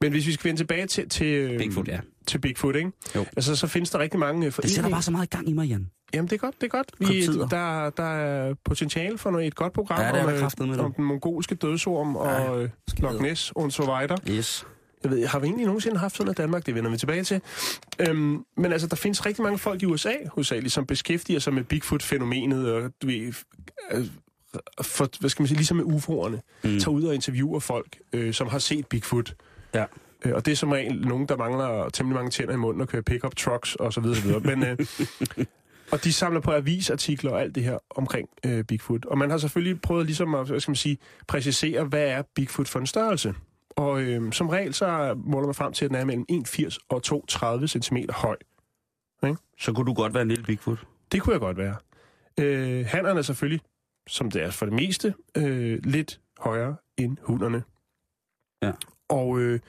Men hvis vi skal vende tilbage til, til, øh, Bigfoot, ja. til Bigfoot ikke? Jo. Altså, så findes der rigtig mange øh, Det foreninger. sætter bare så meget i gang i mig, Jan. Jamen, det er godt, det er godt. Vi, Kryptider. der, der er potentiale for noget, et godt program Ja, det er der om, kraftedeme, øh, du. om den mongolske dødsorm Ja, og øh, Loch Ness og så videre. Yes. Jeg ved, har vi egentlig nogensinde haft sådan noget i Danmark? Det vender vi tilbage til. Øhm, men altså, der findes rigtig mange folk i USA, hovedsageligt, som beskæftiger sig med Bigfoot-fænomenet, og du ved, f- øh, for, hvad skal man sige, ligesom med UFO'erne, mm. tager ud og interviewer folk, øh, som har set Bigfoot. Ja. Øh, og det er som regel nogen, der mangler temmelig mange tænder i munden og kører pickup trucks og så videre, så videre. Men, øh, og de samler på avisartikler og alt det her omkring øh, Bigfoot. Og man har selvfølgelig prøvet ligesom at, hvad skal man sige, præcisere, hvad er Bigfoot for en størrelse? Og øh, som regel, så måler man frem til, at den er mellem 1,80 og 2,30 cm høj. Så kunne du godt være en lille Bigfoot. Det kunne jeg godt være. Øh, hannerne er selvfølgelig, som det er for det meste, øh, lidt højere end hunderne. Ja. Og øh,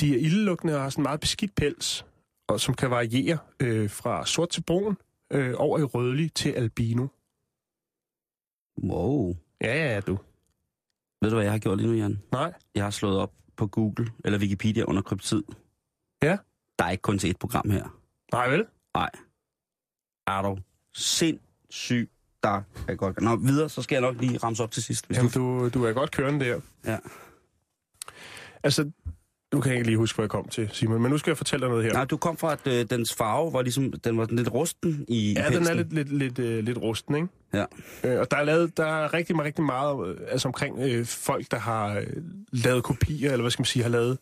de er ildelugtende og har sådan en meget beskidt pels, og som kan variere øh, fra sort til brun, øh, over i rødlig til albino. Wow. Ja, ja, du. Ved du, hvad jeg har gjort lige nu, Jan? Nej. Jeg har slået op på Google eller Wikipedia under kryptid. Ja. Der er ikke kun til et program her. Nej, vel? Er du sindssyg? Der er godt. Nå, videre, så skal jeg nok lige ramse op til sidst. Hvis Jamen, Jamen, du... du, du er godt kørende der. Ja. Altså, nu kan jeg ikke lige huske, hvor jeg kom til, Simon, men nu skal jeg fortælle dig noget her. Nej, du kom fra, at øh, dens farve var ligesom, den var lidt rusten i i Ja, pelsen. den er lidt, lidt, lidt, øh, lidt rusten, ikke? Ja. Øh, og der er, lavet, der er rigtig, rigtig meget øh, altså omkring øh, folk, der har øh, lavet kopier, eller hvad skal man sige, har lavet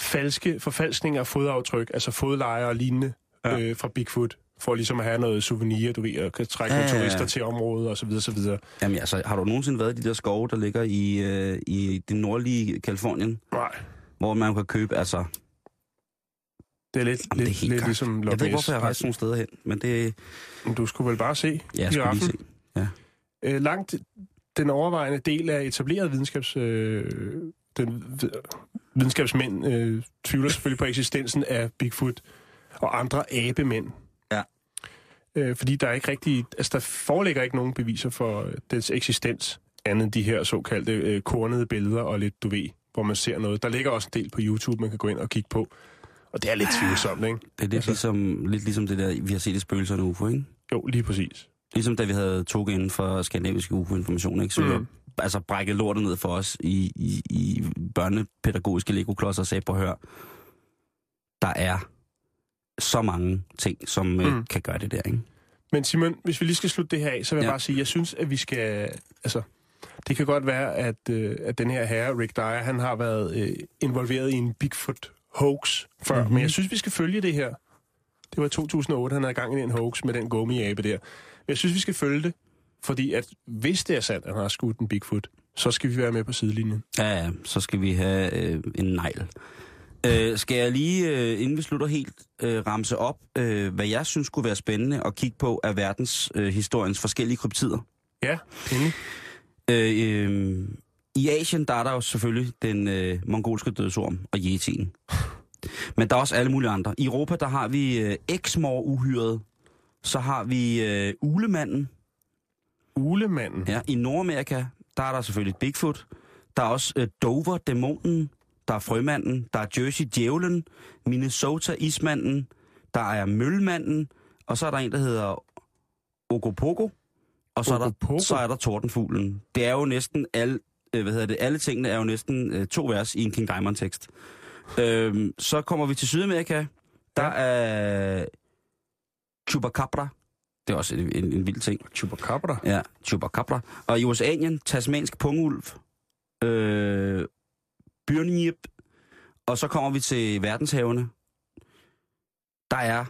falske forfalskninger af fodaftryk, altså fodlejer og lignende Ja. ja. øh, fra Bigfoot, for ligesom at have noget souvenir, du ved, og kan trække Ja, ja, ja, ja, ja. ja. turister til området osv. Så videre, så videre. Jamen altså, har du nogensinde været i de der skove, der ligger i, øh, i det nordlige Kalifornien, Nej, hvor man kan købe, altså... det er lidt, Jamen, det lidt, er helt lidt galt. ligesom Jeg Loch ved ikke, hvorfor jeg rejser Ness. nogle steder hen, men det... Men Du skulle vel bare se Ja, jeg skulle lige se. Øh, langt den overvejende del af etableret videnskabs... Øh, den, videnskabsmænd øh, tvivler selvfølgelig på eksistensen af Bigfoot og andre abemænd. Ja. Øh, fordi der er ikke rigtig... Altså, der foreligger ikke nogen beviser for øh, dens eksistens, andet end de her såkaldte øh, kornede billeder og lidt, du ved, hvor man ser noget. Der ligger også en del på YouTube, man kan gå ind og kigge på. Og det er lidt tvivlsomt, ikke? Det er lidt, Altså- ligesom, lidt ligesom det der, vi har set i spøgelser og UFO, ikke? Jo, lige præcis. Ligesom da vi havde toget inden for skandinaviske UFO-information, ikke? Så mm. Mm. altså brækket lortet ned for os i, i, i børnepædagogiske legoklodser og sagde, på hør, der er så mange ting, som mm. Mm. kan gøre det der, ikke? Men Simon, hvis vi lige skal slutte det her af, så vil jeg Ja. ja. bare sige, jeg synes, at vi skal... Altså, det kan godt være, at, øh, at den her herre, Rick Dyer, han har været øh, involveret i en Bigfoot hoax før. Mhm. Mm-hmm. Men jeg synes, vi skal følge det her. Det var i 2008, han havde gang i en hoax med den gummiabe der. Men jeg synes, vi skal følge det, fordi at hvis det er sandt, at han har skudt en Bigfoot, så skal vi være med på sidelinjen. Ja, ja, så skal vi have øh, en negl. Øh, skal jeg lige, øh, inden vi slutter helt, øh, ramse op, øh, hvad jeg synes kunne være spændende at kigge på af verdenshistoriens forskellige kryptider? Ja, endelig. Øh, øh, I Asien, der er der jo selvfølgelig den øh, mongolske dødsorm og yetien. Men der er også alle mulige andre. I Europa, der har vi øh, eksmor uhyret. Så har vi øh, ulemanden. Ulemanden. Ja, I Nordamerika, der er der selvfølgelig Bigfoot. Der er også øh, Dover, dæmonen. Der er frømanden. Der er Jersey, djævlen. Minnesota, ismanden. Der er møllemanden. Og så er der en, der hedder Ogopogo. Og så er, der, Ogopogo? så er der tordenfuglen. Det er jo næsten alle, øh, hvad hedder det, alle tingene er jo næsten øh, to vers i en King Diamond tekst. Øhm, så kommer vi til Sydamerika. Der Ja. er Chupacabra. Det er også en, en, en vild ting. Chupacabra. Ja, Chupacabra. Og i Oceanien, tasmansk pungulv, øh, byrnjip, og så kommer vi til verdenshavene. Der er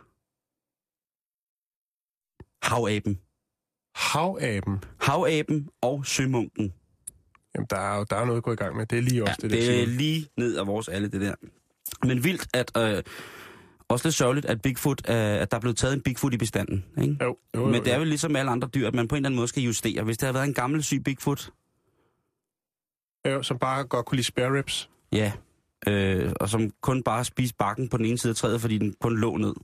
havaben. Havaben. Havaben og sømunken. Jamen, der er jo der er noget at gå i gang med. Det er lige også Ja, det, der det er Simon. lige ned af vores alle, det der. Men vildt, at... Øh, også lidt sørgeligt, at, Bigfoot, øh, at der er blevet taget en Bigfoot i bestanden. Ikke? Jo, jo, jo, Men det er jo. vel ligesom med alle andre dyr, at man på en eller anden måde skal justere. Hvis det havde været en gammel syg Bigfoot, Jo, Øh, som bare godt kunne lide spare ribs. Ja, øh, og som kun bare spiste bakken på den ene side af træet, fordi den kun lå ned,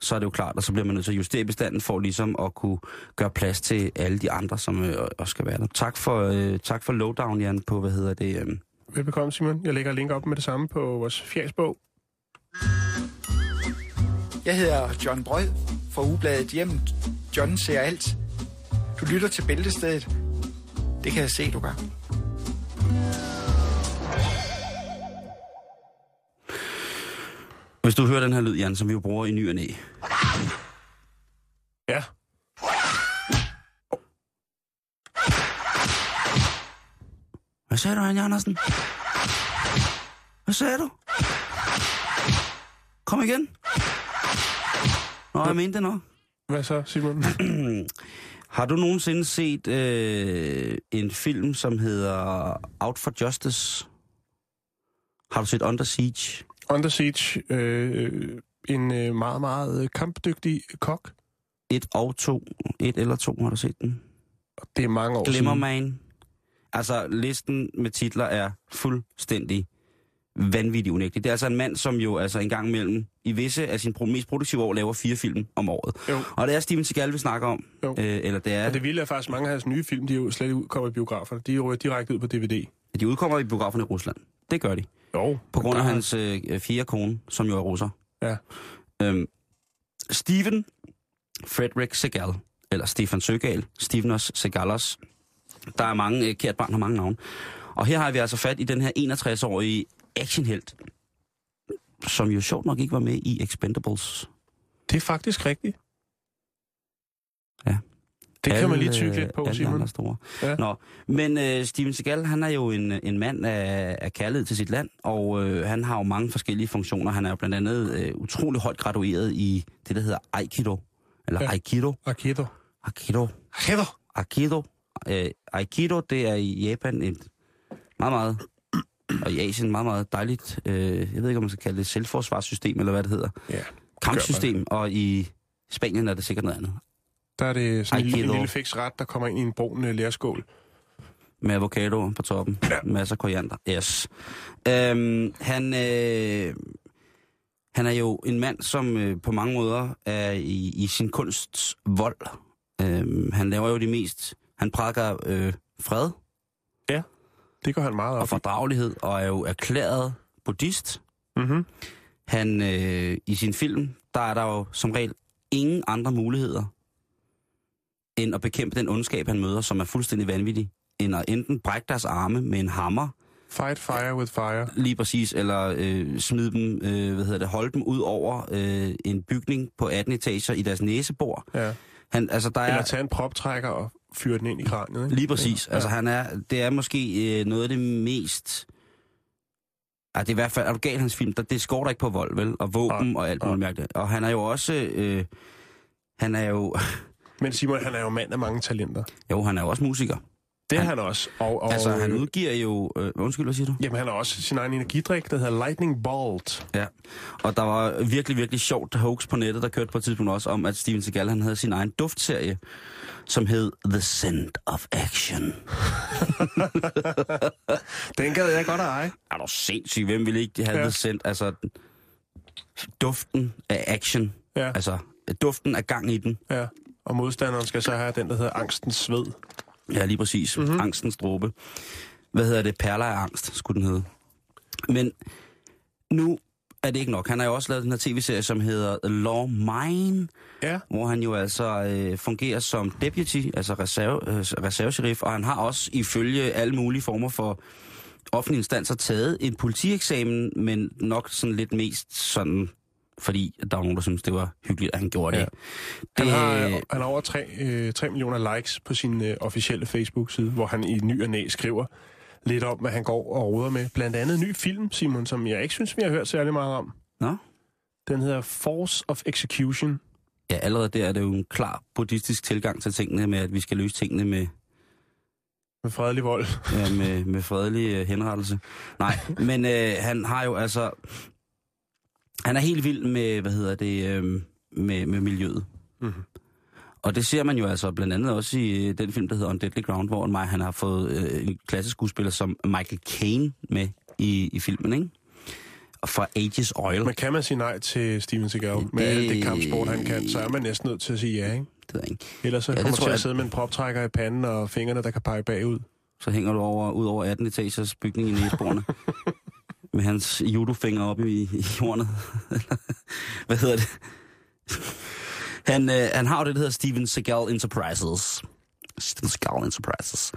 så er det jo klart, og så bliver man nødt til at justere bestanden for ligesom at kunne gøre plads til alle de andre, som øh, også skal være der. Tak for, øh, tak for lowdown, Jan, på, hvad hedder det? Øh. Velbekomme, Simon. Jeg lægger link op med det samme på vores fjersbog. Jeg hedder John Brød fra Ugebladet Hjem. John ser alt. Du lytter til Bæltestedet. Det kan jeg se, du gør. Hvis du hører den her lyd, Jan, som vi jo bruger i ny og næ. Ja. Hvad sagde du, Anja Andersen? Hvad sagde du? Kom igen. Nå, jeg mente det nok. Hvad så, Simon? Har du nogensinde set øh, en film, som hedder Out for Justice? Har du set Under Siege? Under Siege. Øh, en øh, meget, meget øh, kampdygtig kok. 1 og 2. 1 eller 2 har du set den. Og Det er mange år Glimmer siden. Man. Altså, listen med titler er fuldstændig vanvittig unægtelig. Det er altså en mand, som jo altså en gang imellem i visse af sine pro- mest produktive år laver fire film om året. Jo. Og det er Steven Seagal, vi snakker om. Jo. Øh, eller det er... Og det vilde er faktisk, mange af hans nye film, de er jo slet ikke udkommet i biograferne. De er direkte ud på DVD. De udkommer i biograferne i Rusland. Det gør de. Jo. På grund af Der- hans øh, fjerde kone, som jo er russer. Ja. Øhm, Steven Frederick Segal, eller Stefan Søgal, Stevenos Segalos. Der er mange, øh, kært barn har mange navne. Og her har vi altså fat i den her 61-årige actionhelt, som jo sjovt nok ikke var med i Expendables. Det er faktisk rigtigt. Ja. Det kan man lige tygge lidt på, alle Simon. Andre store. Ja. Ja. Nå, men øh, Steven Seagal, han er jo en, en mand af, af kærlighed til sit land, og øh, han har jo mange forskellige funktioner. Han er jo blandt andet øh, utrolig højt gradueret i det, der hedder Aikido. Eller Ja. ja. Aikido. Raketter. Aikido. Raketter? Aikido. Øh, Aikido, det er i Japan et meget, meget, og i Asien meget, meget dejligt, øh, jeg ved ikke, om man skal kalde det selvforsvarssystem, eller hvad det hedder. Ja. Kampsystem, og i Spanien er det sikkert noget andet. Der er det sådan en, lille- en Aikido. lille fix ret, der kommer ind i en brun øh, lærskål. Med avocado på toppen. Ja. Masser af koriander. Yes. Øhm, han, øh, han er jo en mand, som øh, på mange måder er i, i sin kunsts vold. Øhm, han laver jo det mest... Han prædiker øh, fred Det går han meget og op i. fordragelighed, og er jo erklæret buddhist. Mm-hmm. Han, øh, I sin film, der er der jo som regel ingen andre muligheder, end at bekæmpe den ondskab, han møder, som er fuldstændig vanvittig, end at enten brække deres arme med en hammer, Fight fire with fire. Lige præcis, eller øh, smide dem, øh, hvad hedder det, holde dem ud over øh, en bygning på 18 etager i deres næsebor. Ja. Han, altså, der Eller er, tage en proptrækker og fyre den ind i kraniet. Ikke? lige præcis, altså han er, det er måske øh, noget af det mest... Ej, det er i hvert fald, er du gal hans film, der, det skorter ikke på vold, vel? Og våben og alt muligt mærkeligt. Og han er jo også, øh, han er jo, Men Simon, han er jo mand af mange talenter. jo, han er jo også musiker. Det er han, Han- han også. Og, og, Altså, han udgiver jo, øh, undskyld, hvad siger du? Jamen, han har også sin egen energidrik, der hedder Lightning Bolt. Ja, og der var virkelig, virkelig sjovt hoax på nettet, der kørte på et tidspunkt også om, at Steven Seagal han havde sin egen duftserie, som hed The Scent of Action. Den gad jeg godt at eje. Er du sindssyg? Hvem ville ikke have Ja. ja. The Scent? Altså, duften af action. Ja. Altså, duften af gang i den. Ja. Og modstanderen skal så have den, der hedder Angstens Sved. Ja, lige præcis. Mhm. Mm-hmm. Angstens dråbe. Hvad hedder det? Perler af angst, skulle den hedde. Men nu er det ikke nok. Han har jo også lavet den her tv-serie, som hedder Law Mine, Ja. hvor han jo altså øh, fungerer som deputy, altså reserve, øh, reservesheriff, og han har også ifølge alle mulige former for offentlige instanser taget en politieksamen, men nok sådan lidt mest sådan, fordi der var nogen, der synes det var hyggeligt, at han gjorde det. Ja. Han, har, han har over 3, øh, 3 millioner likes på sin øh, officielle Facebook-side, hvor han i ny og næ skriver lidt om, hvad han går og roder med. Blandt andet en ny film, Simon, som jeg ikke synes, vi har hørt særlig meget om. Nå? Den hedder Force of Execution. Ja, allerede der er det jo en klar buddhistisk tilgang til tingene med, at vi skal løse tingene med, Med fredelig vold. ja, med, med fredelig øh, henrettelse. Nej, men øh, han har jo altså... Han er helt vild med, hvad hedder det, øh, med, med miljøet. Mhm. Mm-hmm. Og det ser man jo altså blandt andet også i øh, den film, der hedder On Deadly Ground, hvor mig, han har fået øh, en klassisk skuespiller som Michael Caine med i, i filmen, ikke? Og fra Aegis Oil. Men kan man sige nej til Steven Seagal? Med Det- alt det kampsport, han kan, så er man næsten nødt til at sige ja, ikke? Det ved jeg ikke. Ellers så Ja, ja, det kommer tror til at jeg- sidde med en proptrækker i panden og fingrene, der kan pege bagud. så hænger du over, ud over 18 etagers bygning i næsbordene. med hans judofinger oppe i, i hornet. Hvad hedder det? Han, øh, han har jo det, der hedder Steven Seagal Enterprises. Steven Seagal Enterprises.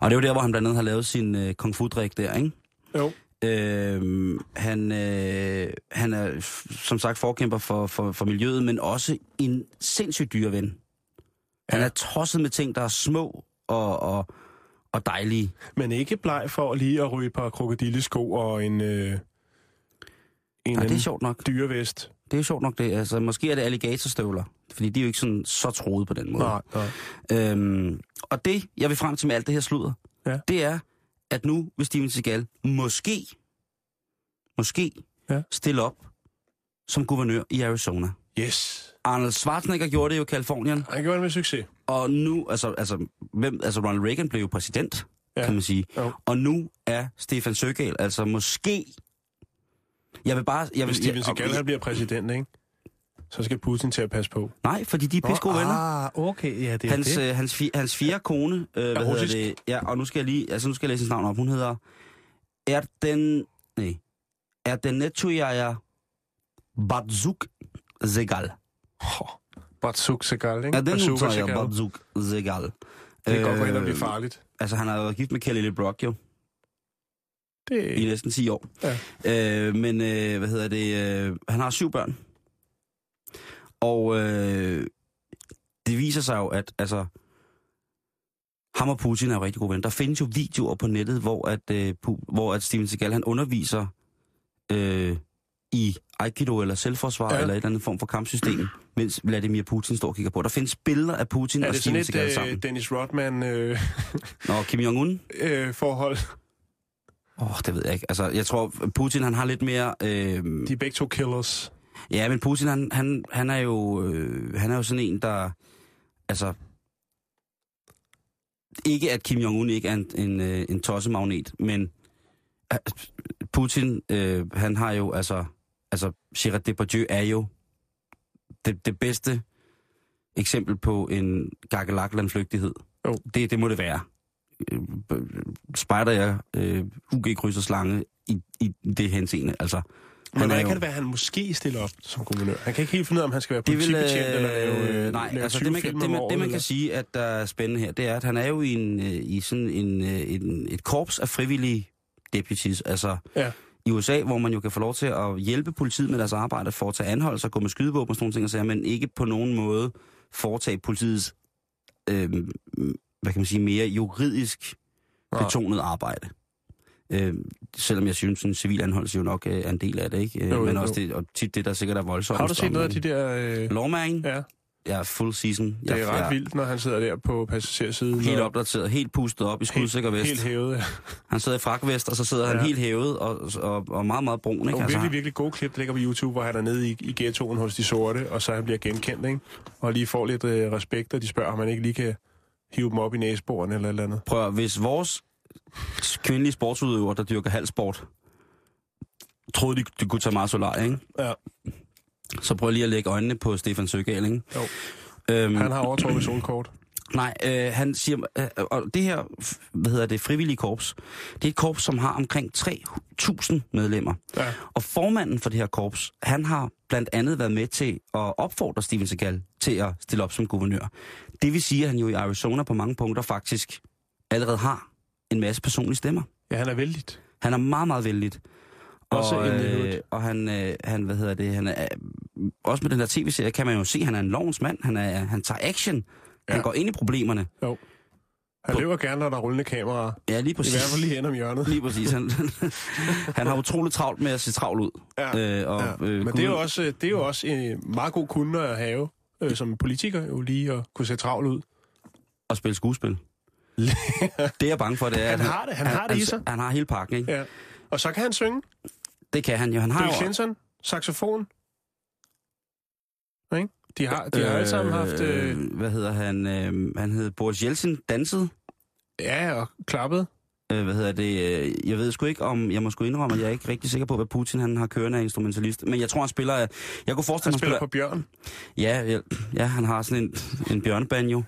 Og det er jo der, hvor han blandt andet har lavet sin øh, kung fu-drik der, ikke? Jo. Øhm, han, øh, han er f- som sagt forkæmper for, for, for miljøet, men også en sindssygt dyreven. Han Ja. er tosset med ting, der er små og, og, og dejlige. Men ikke bleg for lige at ryge et par krokodillesko og en... Øh, en Nej, det er anden sjovt nok. dyrevest. Det er sjovt nok det. Altså, måske er det alligatorstøvler, fordi de er jo ikke sådan, så troede på den måde. Nej, nej. Øhm, og det, jeg vil frem til med alt det her sludder, Ja. det er, at nu vil Steven Seagal måske, måske Ja. ja. stille op som guvernør i Arizona. Yes. Arnold Schwarzenegger gjorde det jo i Kalifornien, Han gjorde det med succes. og nu, altså, altså, hvem, altså Ronald Reagan blev jo præsident, Ja. ja. kan man sige. Jo. Og nu er Stefan Søgaal, altså måske... Jeg vil bare... Jeg Hvis vil, Steven jeg- Seagal han bliver præsident, ikke? så skal Putin til at passe på. Nej, fordi de er pisse gode venner. Ah, okay. Ja, det er Hans, det. øh, hans, fi, hans fjerde kone, øh, hvad hedder russisk. det? Ja, og nu skal jeg lige, altså nu skal jeg læse hendes navn op. Hun hedder er den, nej, er den Netujaja Badzuk Zegal. Batsuk Seagal, ikke? Er den Bazooka Netujaja Seagal. Badzuk Zegal? Det kan godt gå hen og Øh, blive farligt. Altså, han har været gift med Kelly LeBrock jo, i Det, næsten 10 år. Ja. Øh, men, øh, hvad hedder det, øh, han har syv børn. Og øh, det viser sig jo, at altså, ham og Putin er jo rigtig gode venner. Der findes jo videoer på nettet, hvor at, øh, pu- hvor at Steven Seagal han underviser øh, i Aikido eller selvforsvar ja. Ja. eller et eller andet form for kampsystem, mens Vladimir Putin står og kigger på. Der findes billeder af Putin Er og det sådan Steven et Seagal øh, sammen. Dennis Rodman-forhold? Øh, Nå, Kim Jong-un? øh, forhold? Åh, oh, det ved jeg ikke. Altså, jeg tror, Putin han har lidt mere... Øh, De er begge to killers. Ja, men Putin, han, han, han, er jo, øh, han er jo sådan en, der... Altså... Ikke at Kim Jong-un ikke er en, en, øh, en tossemagnet, men øh, Putin, øh, han har jo, altså... Altså, Gerard Depardieu er jo det, det bedste eksempel på en gakkelakland-flygtighed. Jo. Det, det må det være. Øh, spejder jeg øh, UG krydser slange i, i det henseende, altså... Men han er hvordan jo- kan det være, at han måske stiller op som kommunør? Han kan ikke helt finde ud af, om han skal være det vil, politibetjent øh, eller lave, øh, nej, lave altså 20 det man, kan- film det, om man, året, det man eller- kan sige, at der er spændende her, det er, at han er jo i, en, øh, i sådan en, øh, en, et korps af frivillige deputies, altså Ja. i USA, hvor man jo kan få lov til at hjælpe politiet med deres arbejde, foretage anholdelser, gå med skydevåben og sådan nogle ting, og sager, men ikke på nogen måde foretage politiets, øh, hvad kan man sige, mere juridisk Nej. betonet arbejde. Øh, selvom jeg synes, en civil anholdelse jo nok øh, er en del af det, ikke? Øh, Jo, jo, men jo. også det, og tit det, der sikkert er voldsomt. Har du set noget af de der... Øh, Lawman? ja, Jeg er full season. det jeg, er jeg, ret vildt, når han sidder der på passagersiden. Helt og- opdateret, helt pustet op i skudsikker Helt, vest. helt hævet. ja. Han sidder i frakvest, og så sidder ja. Ja. han helt hævet og, og, og meget, meget brun. Ikke? Nogle Altså, virkelig, virkelig gode klip, der ligger på YouTube, hvor han er nede i, i ghettoen hos de sorte, og så han bliver genkendt, ikke? Og lige får lidt øh, respekt, og de spørger, om man ikke lige kan hive dem op i næsebordene eller et eller andet. prøv, at- hvis vores kvindelige sportsudøver, der dyrker halvsport, troede, de, de kunne tage meget solar, ikke? Ja. Så prøv lige at lægge øjnene på Stefan Søgaard, ikke? Jo. Øhm, Han har overtrukket solkort. Nej, øh, han siger, øh, og det her, f- hvad hedder det, frivillige korps, det er et korps, som har omkring 3.000 medlemmer. Ja. Og formanden for det her korps, han har blandt andet været med til at opfordre Steven Seagal til at stille op som guvernør. Det vil sige, at han jo i Arizona på mange punkter faktisk allerede har en masse personlige stemmer. Ja, han er vældigt. Han er meget, meget vældig. Også og, in the hood. og han, øh, han, hvad hedder det, han er, øh, også med den der tv-serie kan man jo se, at han er en lovens mand. Han, er, han tager action. Ja. Han Ja. går ind i problemerne. Han løber gerne, når der er rullende kameraer. Ja, lige I præcis. hvert fald lige hen om hjørnet. Lige præcis. Han, han har utrolig travlt med at se travl ud. Ja. Øh, og, Ja. Men det er jo også, øh, det er jo også en meget god kunde at have øh, som politiker, jo lige at kunne se travl ud. at spille skuespil. det jeg er bange for, det er, Han at har det, han har det i sig. Han har hele pakken, ikke? Ja. Ja. Og så kan han synge. Det kan han jo. Han har Bill jo Clinton, saxofon. Ikke? De har, de har alle sammen haft... Øh, Hvad hedder han? Øh, han hed Boris Jeltsin, dansede. ja, og klappet. Øh, hvad hedder det? øh, Jeg ved sgu ikke om... Jeg må sgu indrømme, at jeg er ikke rigtig sikker på, hvad Putin han har kørende af instrumentalist. Men jeg tror, han spiller... øh, Jeg kunne forestille Han mig, spiller på Bjørn. Ja, ja, ja, han har sådan en, en bjørnebanjo.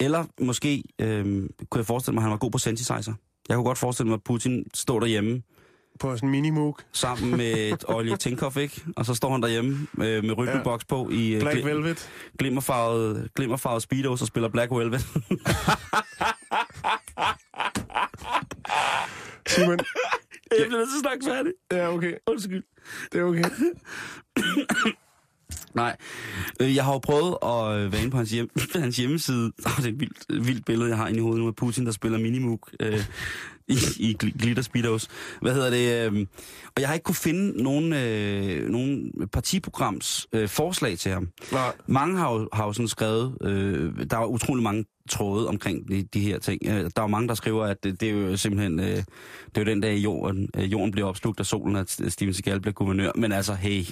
Eller måske øh, kunne jeg forestille mig, at han var god på synthesizer. Jeg kunne godt forestille mig, at Putin står derhjemme på sådan en minimoog. sammen med et Olje Tinkoff, ikke? Og så står han derhjemme øh, med rytmeboks på i øh, Black glim- Velvet. glimmerfarvet, glimmerfarvet speedos og spiller Black Velvet. Simon. jeg bliver nødt til at snakke færdig. Ja, okay. Undskyld. Det er okay. Nej, øh, jeg har jo prøvet at øh, være inde på hans, hjem, hans hjemmeside. Oh, det er et vildt, vildt billede, jeg har inde i hovedet nu af Putin, der spiller Minimoog øh, i, i gl- glitter speedos. Hvad hedder det? Øh, og jeg har ikke kunne finde nogen, øh, nogen partiprograms øh, forslag til ham. Nej. Mange har jo, har jo sådan skrevet, øh, der er utrolig mange tråde omkring de, de her ting. Øh, der er jo mange, der skriver, at det, det er jo simpelthen, øh, det er jo den dag, jorden, øh, jorden bliver opslugt af solen, at Steven Seagal bliver guvernør. Men altså, hey,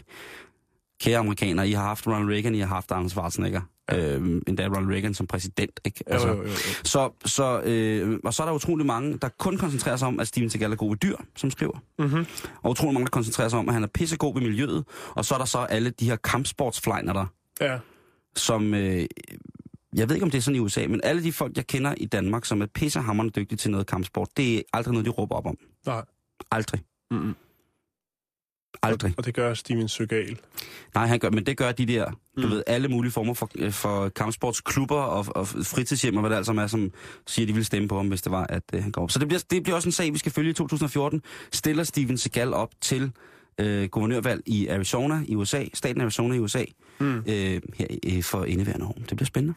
kære amerikanere, I har haft Ronald Reagan, I har haft Arnold Schwarzenegger. Ja. Øh, endda Ronald Reagan som præsident, ikke? Jo, Altså, jo, jo, jo. Så, så, øh, og så er der utrolig mange, der kun koncentrerer sig om, at Steven Seagal er god ved dyr, som skriver. Mhm. Og utrolig mange, der koncentrerer sig om, at han er pissegod ved miljøet. Og så er der så alle de her kampsportsflejner, der Ja. som... Øh, jeg ved ikke, om det er sådan i USA, men alle de folk, jeg kender i Danmark, som er pissehammerende dygtige til noget kampsport, det er aldrig noget, de råber op om. Nej. Aldrig. Mm-hmm. Aldrig. Og det gør Steven Søgal. Nej, han gør, men det gør de der, du ved, alle mulige former for, øh, for kampsportsklubber og, og fritidshjem og hvad det altså er, som siger, de vil stemme på ham, hvis det var, at øh, han går op. Så det bliver, det bliver også en sag, vi skal følge i 2014. Stiller Steven Seagal op til øh, guvernørvalg i Arizona i USA, staten Arizona i USA, Mm. øh, her øh, for indeværende år. Det bliver spændende.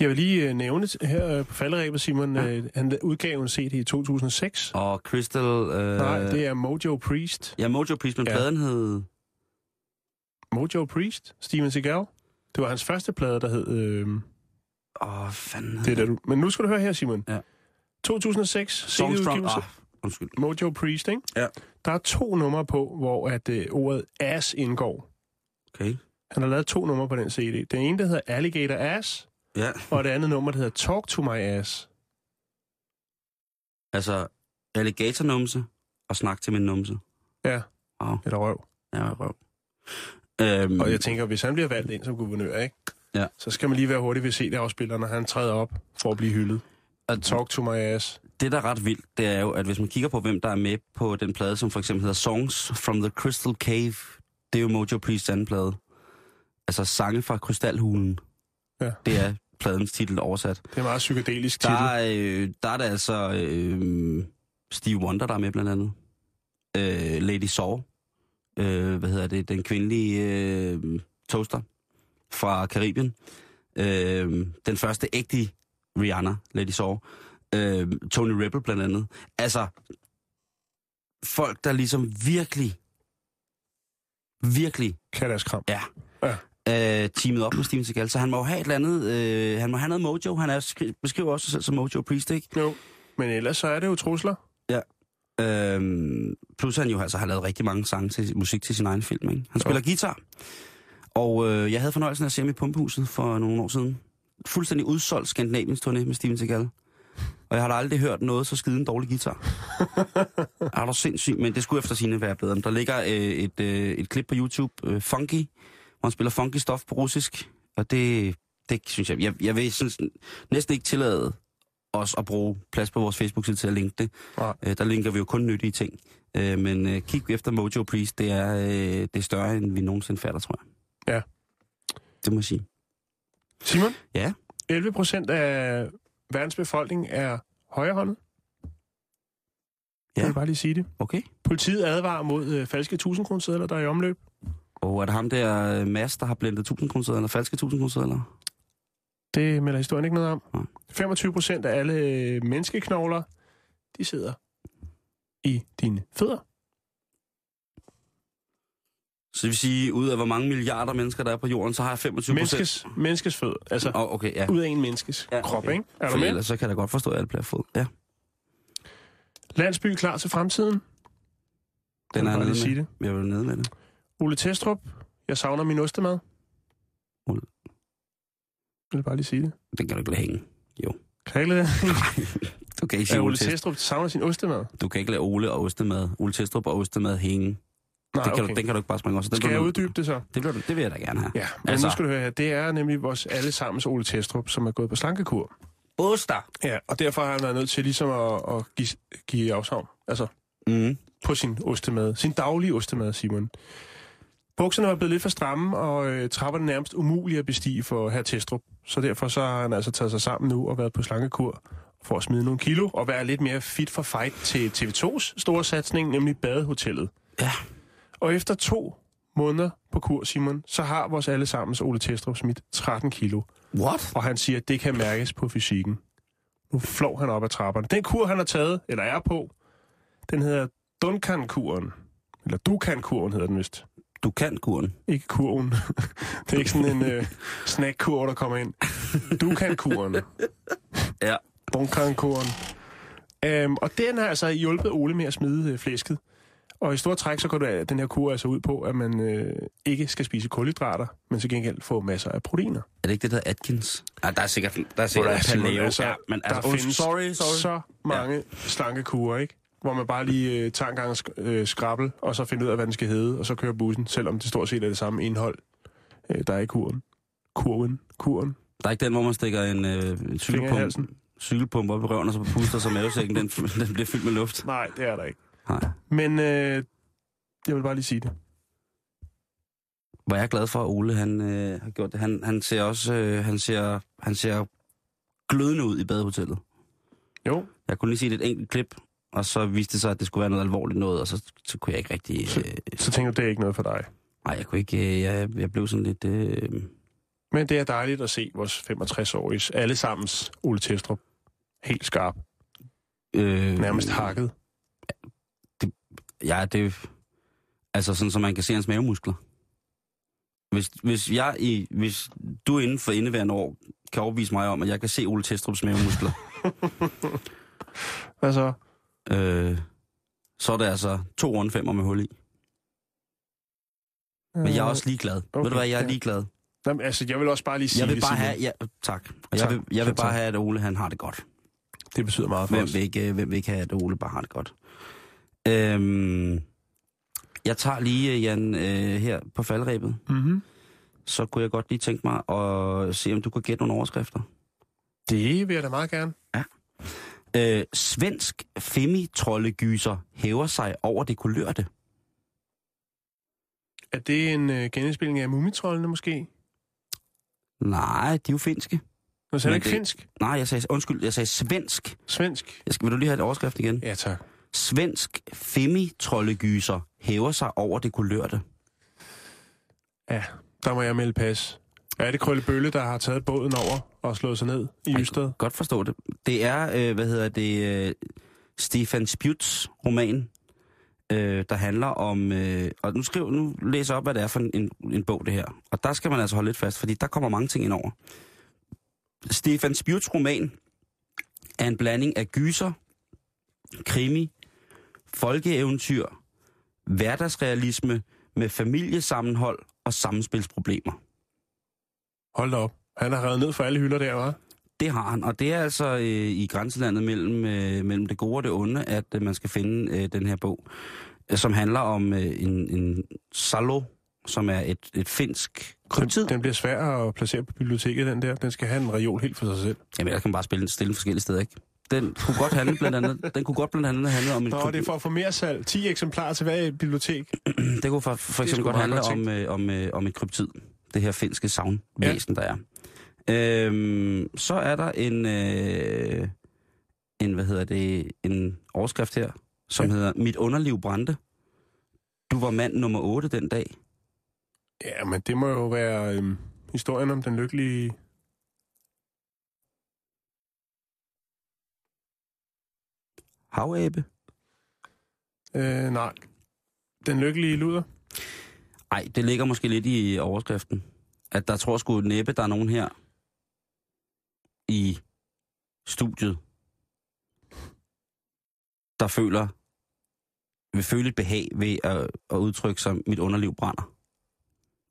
Jeg vil lige øh, nævne t- her øh, på falderæbet, Simon, ja. han udgav en CD i 2006. Og Crystal... Øh, Nej, det er Mojo Priest. Ja, Mojo Priest, men Ja. ja. pladen hed... Mojo Priest, Steven Seagal. Det var hans første plade, der hed... Øh, Åh, oh, fanden. det der, du... Men nu skal du høre her, Simon. Ja. 2006, Songstrong. CD-udgivelse. Ah, undskyld. Mojo Priest, ikke? Ja. Der er to numre på, hvor at, øh, ordet ass indgår. Okay. Han har lavet to numre på den CD. Den ene, der hedder Alligator Ass, Ja, og det andet nummer, der hedder Talk to My Ass. altså alligatornumse og snak til min numse. Ja, Wow, eller røv. jeg er røv. Øhm, Og jeg tænker, hvis han bliver valgt ind som guvernør, ikke? Ja. så skal man lige være hurtig ved CD-afspilleren, når han træder op for at blive hyldet. Og- Talk to my ass. det, der er ret vildt, det er jo, at hvis man kigger på, hvem der er med på den plade, som for eksempel hedder Songs from the Crystal Cave, det er jo Mojo Priest anden plade. Altså sange fra krystalhulen. Ja. Det er pladens titel oversat. Det er en meget psykedelisk titel. Der er, øh, der er det altså øh, Steve Wonder, der er med blandt andet. Øh, Lady Saw. Øh, hvad hedder det? Den kvindelige øh, toaster fra Karibien. Øh, den første ægte Rihanna, Lady Saw. Øh, Tony Rebel blandt andet. Altså, folk, der ligesom virkelig, virkelig Kan deres kram. Ja. Ja. øh, teamet op med Steven Seagal, så han må jo have et eller andet, øh, han må have noget mojo, han er, skri- beskriver også sig selv som mojo priest, ikke? Jo. Men ellers så er det jo trusler. Øhm, plus han jo altså har lavet rigtig mange sange til musik til sin egen film, ikke? Han spiller guitar. Og øh, jeg havde fornøjelsen af at se ham i Pumpehuset for nogle år siden. Fuldstændig udsolgt Skandinaviens turné med Steven Seagal. Og jeg har da aldrig hørt noget så skide en dårlig guitar. er du sindssyg, men det skulle efter sine være bedre. Men Der ligger øh, et, øh, et klip på YouTube, øh, Funky, hvor han spiller funky stof på russisk. Og det, det synes jeg, jeg, jeg vil synes, næsten ikke tillade os at bruge plads på vores Facebook-side til at linke det. Nej. Øh, der linker vi jo kun nyttige ting. Øh, men øh, kig efter Mojo Please, det er, øh, det er større, end vi nogensinde fatter, tror jeg. Ja. Det må jeg sige. Simon? Ja. 11 procent af verdens befolkning er højrehåndet. Ja. Jeg vil bare lige sige det. Okay. Politiet advarer mod øh, falske 1000 kroner der er i omløb. Og er det ham der øh, Mads, der har blendet 1000 kroner eller falske 1000 kroner Det melder historien ikke noget om. Nej. 25 procent af alle øh, menneskeknogler, de sidder i dine fødder. Så det vil sige, ud af hvor mange milliarder mennesker, der er på jorden, så har jeg 25 procent. Menneskes, menneskes fødder. Altså, Oh, okay, ja. ud af en menneskes ja, Ja, krop, okay. ikke? Er du For med? ellers så kan jeg da godt forstå, at alt bliver fod. Ja, Landsby klar til fremtiden. den er jeg jeg bare lige nede sige med. det. Jeg vil nede med det. Ole Testrup, jeg savner min ostemad. Ole. Jeg vil bare lige sige det. Den kan du ikke lade hænge. Kan jeg ikke lade Du kan ikke at sige Ole Ole Testrup. Testrup savner sin ostemad? Du kan ikke lade Ole og ostemad, Ole Testrup og ostemad hænge. Nej, det kan okay. du, den kan du ikke bare springe over. så den Skal jeg bliver du- uddybe det så? Det, bliver du, det vil jeg da gerne have. Ja, men altså. Altså. nu skal du høre her. Det er nemlig vores allesammens Ole Testrup, som er gået på slankekur. Oster! Ja, og derfor har han været nødt til ligesom at, at give, give afsavn. Altså, Mm. på sin ostemad. Sin daglige ostemad, Simon. Bukserne var blevet lidt for stramme, og øh, trapperne nærmest umulige at bestige for herr Testrup. Så derfor så har han altså taget sig sammen nu og været på slankekur for at smide nogle kilo og være lidt mere fit for fight til TV2's store satsning, nemlig Badehotellet. Ja. Og efter to måneder på kur, Simon, så har vores allesammens Ole Testrup smidt 13 kilo. What? Og han siger, at det kan mærkes på fysikken. Nu flår han op ad trapperne. Den kur, han har taget, eller er på, den hedder Duncan-kuren. Eller Dukan-kuren hedder den vist. Du kan kuren. Ikke kurven. Det er ikke sådan en øh, snackkur, der kommer ind. Dukan-kuren. Ja. Duncan-kuren. Øhm, og den har altså hjulpet Ole med at smide øh, flæsket. Og i store træk, så går det, den her kur altså ud på, at man øh, ikke skal spise kulhydrater, men til gengæld få masser af proteiner. Er det ikke det, der hedder Atkins? Nej, Ah, der er sikkert, der er Hvor sikkert der er et Simon, paleo. altså, ja, men altså, der oh, findes sorry, sorry. Så... så mange ja. slankekurer, ikke? Hvor man bare lige øh, tager en gang sk- øh, skrabbel, og så finder ud af, hvad den skal hedde, og så kører bussen, selvom det stort set er det samme indhold, øh, der er i kuren. Kurven. Kuren. Der er ikke den, hvor man stikker en øh, Finger i cykelpump, halsen. cykelpump op i røven, og så puster sig mavesækken, den, den bliver fyldt med luft. Nej, det er der ikke. Nej. Men øh, jeg vil bare lige sige det. Hvor jeg er glad for, at Ole han, øh, har gjort det. Han, han ser også øh, han ser, han ser glødende ud i badehotellet. Jo, Jeg kunne lige se et enkelt klip, og så viste det sig, at det skulle være noget alvorligt noget, og så, så kunne jeg ikke rigtig... Øh, så tænker du, det er ikke noget for dig. nej, jeg kunne ikke... Øh, jeg, jeg blev sådan lidt... Øh, Men det er dejligt at se vores 65-årige allesammens Ole Testrup. Helt skarp. Øh, Nærmest hakket. Ja, det... Altså sådan, så man kan se hans mavemuskler. Hvis, hvis, jeg i, hvis du inden for indeværende år kan overbevise mig om, at jeg kan se Ole Testrups mavemuskler, Hvad så? øh, så er det altså to runde femmer med hul i. Men jeg er også ligeglad. Okay, Okay, Ved du hvad, jeg er ja. ligeglad. Øh, Jamen, altså, jeg vil også bare lige sige, Jeg vil ved bare siden af. have... Ja, tak. Og jeg Tak. vil, jeg vil Selv bare tak. have, at Ole han har det godt. Det betyder meget for Hvem os. vil, ikke, øh, hvem vil ikke have, at Ole bare har det godt? Øhm, jeg tager lige, øh, Jan, øh, her på faldrebet. Mm-hmm. Så kunne jeg godt lige tænke mig at se, om du kan gætte nogle overskrifter. Det vil jeg da meget gerne. Øh, svensk femitrollegyser hæver sig over det kulørte. Er det en øh, genindspilning af Mumitrollene måske? Nej, de er jo finske. Nå, så er Men det ikke det- finsk? Nej, jeg sagde, undskyld, jeg sagde svensk. Svensk? Jeg skal, vil du lige have et overskrift igen? Ja, tak. Svensk femitrollegyser hæver sig over det kulørte. Ja, der må jeg melde pas. Er det Krølle Bølle, der har taget båden over og slået sig ned i Jeg Ystad? kan godt forstå det. Det er, øh, hvad hedder det, øh, Stefan Spjuts roman, øh, der handler om... Øh, og nu, skriv, nu læser jeg op, hvad det er for en, en, en bog, det her. Og der skal man altså holde lidt fast, fordi der kommer mange ting ind over. Stefan Spjuts roman er en blanding af gyser, krimi, folkeeventyr, hverdagsrealisme med familiesammenhold og samspilsproblemer. Hold da op. Han har reddet ned for alle hylder der, var. Det har han, og det er altså øh, i grænselandet mellem, øh, mellem det gode og det onde, at øh, man skal finde øh, den her bog, øh, som handler om øh, en, en salo, som er et, et finsk Den, kryptid. den bliver svær at placere på biblioteket, den der. Den skal have en reol helt for sig selv. Jamen, der kan man bare spille den stille forskellige steder, ikke? Den kunne godt handle blandt andet, den kunne godt blandt andet handle om et Nå, kryp- det er for at få mere salg. 10 eksemplarer til hver bibliotek. det kunne for, for er eksempel sgu godt handle meget godt om, øh, om, øh, om et kryptid. Det her finske savnvæsen, ja. der er. Øhm, så er der en, øh, en, hvad hedder det, en overskrift her, som ja. Ja. hedder Mit underliv brændte. Du var mand nummer 8 den dag. Ja, men det må jo være øhm, historien om den lykkelige... Havabe? Øh, nej. Den lykkelige luder. Ej, det ligger måske lidt i overskriften. At der tror sgu næppe, der er nogen her i studiet, der føler, vil føle et behag ved at, at udtrykke sig, mit underliv brænder.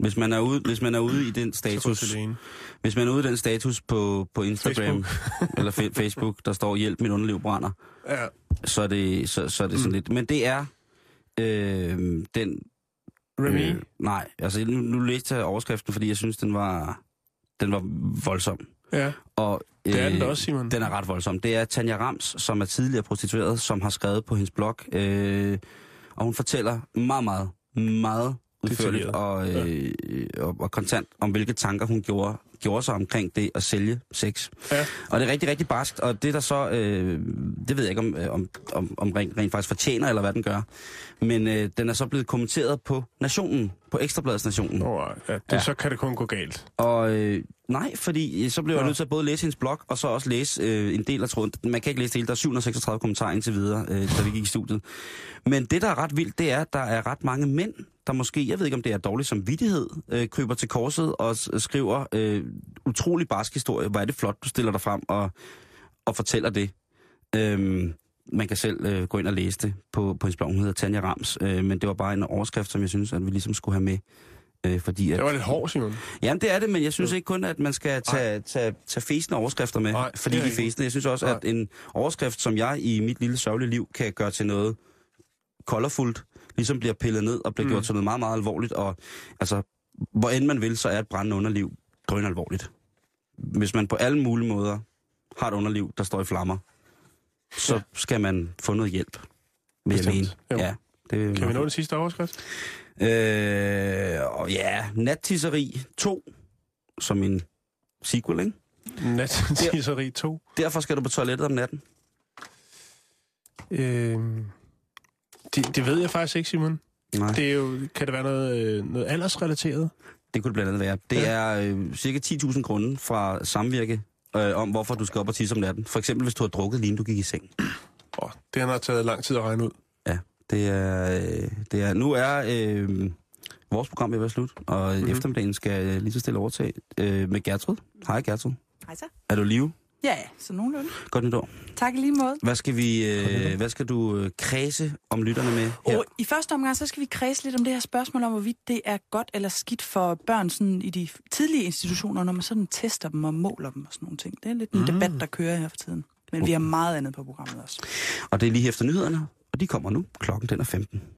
Hvis man er ude, hvis man er ude i den Så får du til status, det ene. hvis man er ude i den status på, på Instagram eller fe- Facebook, der står, hjælp, mit underliv brænder, Ja, så er det, så, så er det sådan Mm. lidt. Men det er øh, den Remy. Øh, nej, altså nu, nu læste jeg overskriften, fordi jeg synes, den var, den var voldsom. Ja, Og, øh, det er den da også, Simon. Den er ret voldsom. Det er Tanja Rams, som er tidligere prostitueret, som har skrevet på hendes blog, øh, og hun fortæller meget, meget, meget udførligt Detaljeret. og, øh, og, og kontant om, hvilke tanker hun gjorde, gjorde sig omkring det at sælge sex. Ja. Og det er rigtig, rigtig barskt, og det der så, øh, det ved jeg ikke, om, øh, om, om, om rent, rent faktisk fortjener, eller hvad den gør, men øh, den er så blevet kommenteret på Nationen, på Ekstrabladets Nationen. Oh, ja, det, Ja. ja. Så kan det kun gå galt. Og øh, nej, fordi øh, så blev jeg Nå. nødt til at både læse hendes blog, og så også læse øh, en del af tråden. Man kan ikke læse det hele, der er 736 kommentarer indtil videre, øh, da vi gik i studiet. Men det, der er ret vildt, det er, at der er ret mange mænd, der måske, jeg ved ikke om det er dårlig samvittighed, øh, kryber til korset og s- skriver øh, utrolig barsk historie. Hvor er det flot, du stiller dig frem og, og fortæller det. Øhm, man kan selv øh, gå ind og læse det på, på hendes blog, hun hedder Tanja Rams. Øh, men det var bare en overskrift, som jeg synes, at vi ligesom skulle have med. Øh, fordi at, Det var lidt hård, Simon. Jamen, det er det, men jeg synes ikke kun, at man skal tage, tage, tage fæsende overskrifter med, Nej, fordi det er de er rigtigt. fæsende. Jeg synes også, Nej. at en overskrift, som jeg i mit lille sørgelige liv kan gøre til noget colorfuldt, ligesom bliver pillet ned og bliver mm. gjort til noget meget, meget alvorligt. Og altså, hvor end man vil, så er et brændende underliv grøn alvorligt. Hvis man på alle mulige måder har et underliv, der står i flammer, så ja. skal man få noget hjælp. Vil jeg Bestemt. mene. Jo. Ja, det, Kan vi nå den sidste overskrift? Øh, og ja, Nattisseri 2, som en sequel, ikke? Nattensisseri 2. Derfor skal du på toilettet om natten. Øhm, det, det ved jeg faktisk ikke, Simon. Nej. Det... Det er jo, kan det være noget, øh, noget aldersrelateret? Det kunne det blandt andet være. Det Ja. ja. er øh, cirka 10.000 grunde fra samvirke øh, om, hvorfor du skal op og tisse om natten. For eksempel, hvis du har drukket, lige inden du gik i seng. Åh, det har nok taget lang tid at regne ud. Ja, det er... Øh, det er nu er øh, vores program ved at være slut, og mm-hmm. eftermiddagen skal øh, lige så stille overtage øh, med Gertrud. Hej Gertrud. Hej så. Er du i live? Ja, ja, så nogenlunde. Godt nytår. Tak i lige måde. Hvad skal, vi, øh, hvad skal du øh, kredse om lytterne med her? Og I første omgang, så skal vi kredse lidt om det her spørgsmål om, hvorvidt det er godt eller skidt for børn sådan i de tidlige institutioner, når man sådan tester dem og måler dem og sådan nogle ting. Det er lidt en mm. debat, der kører her for tiden. Men vi har meget andet på programmet også. Og det er lige efter nyhederne, og de kommer nu. Klokken den er 15.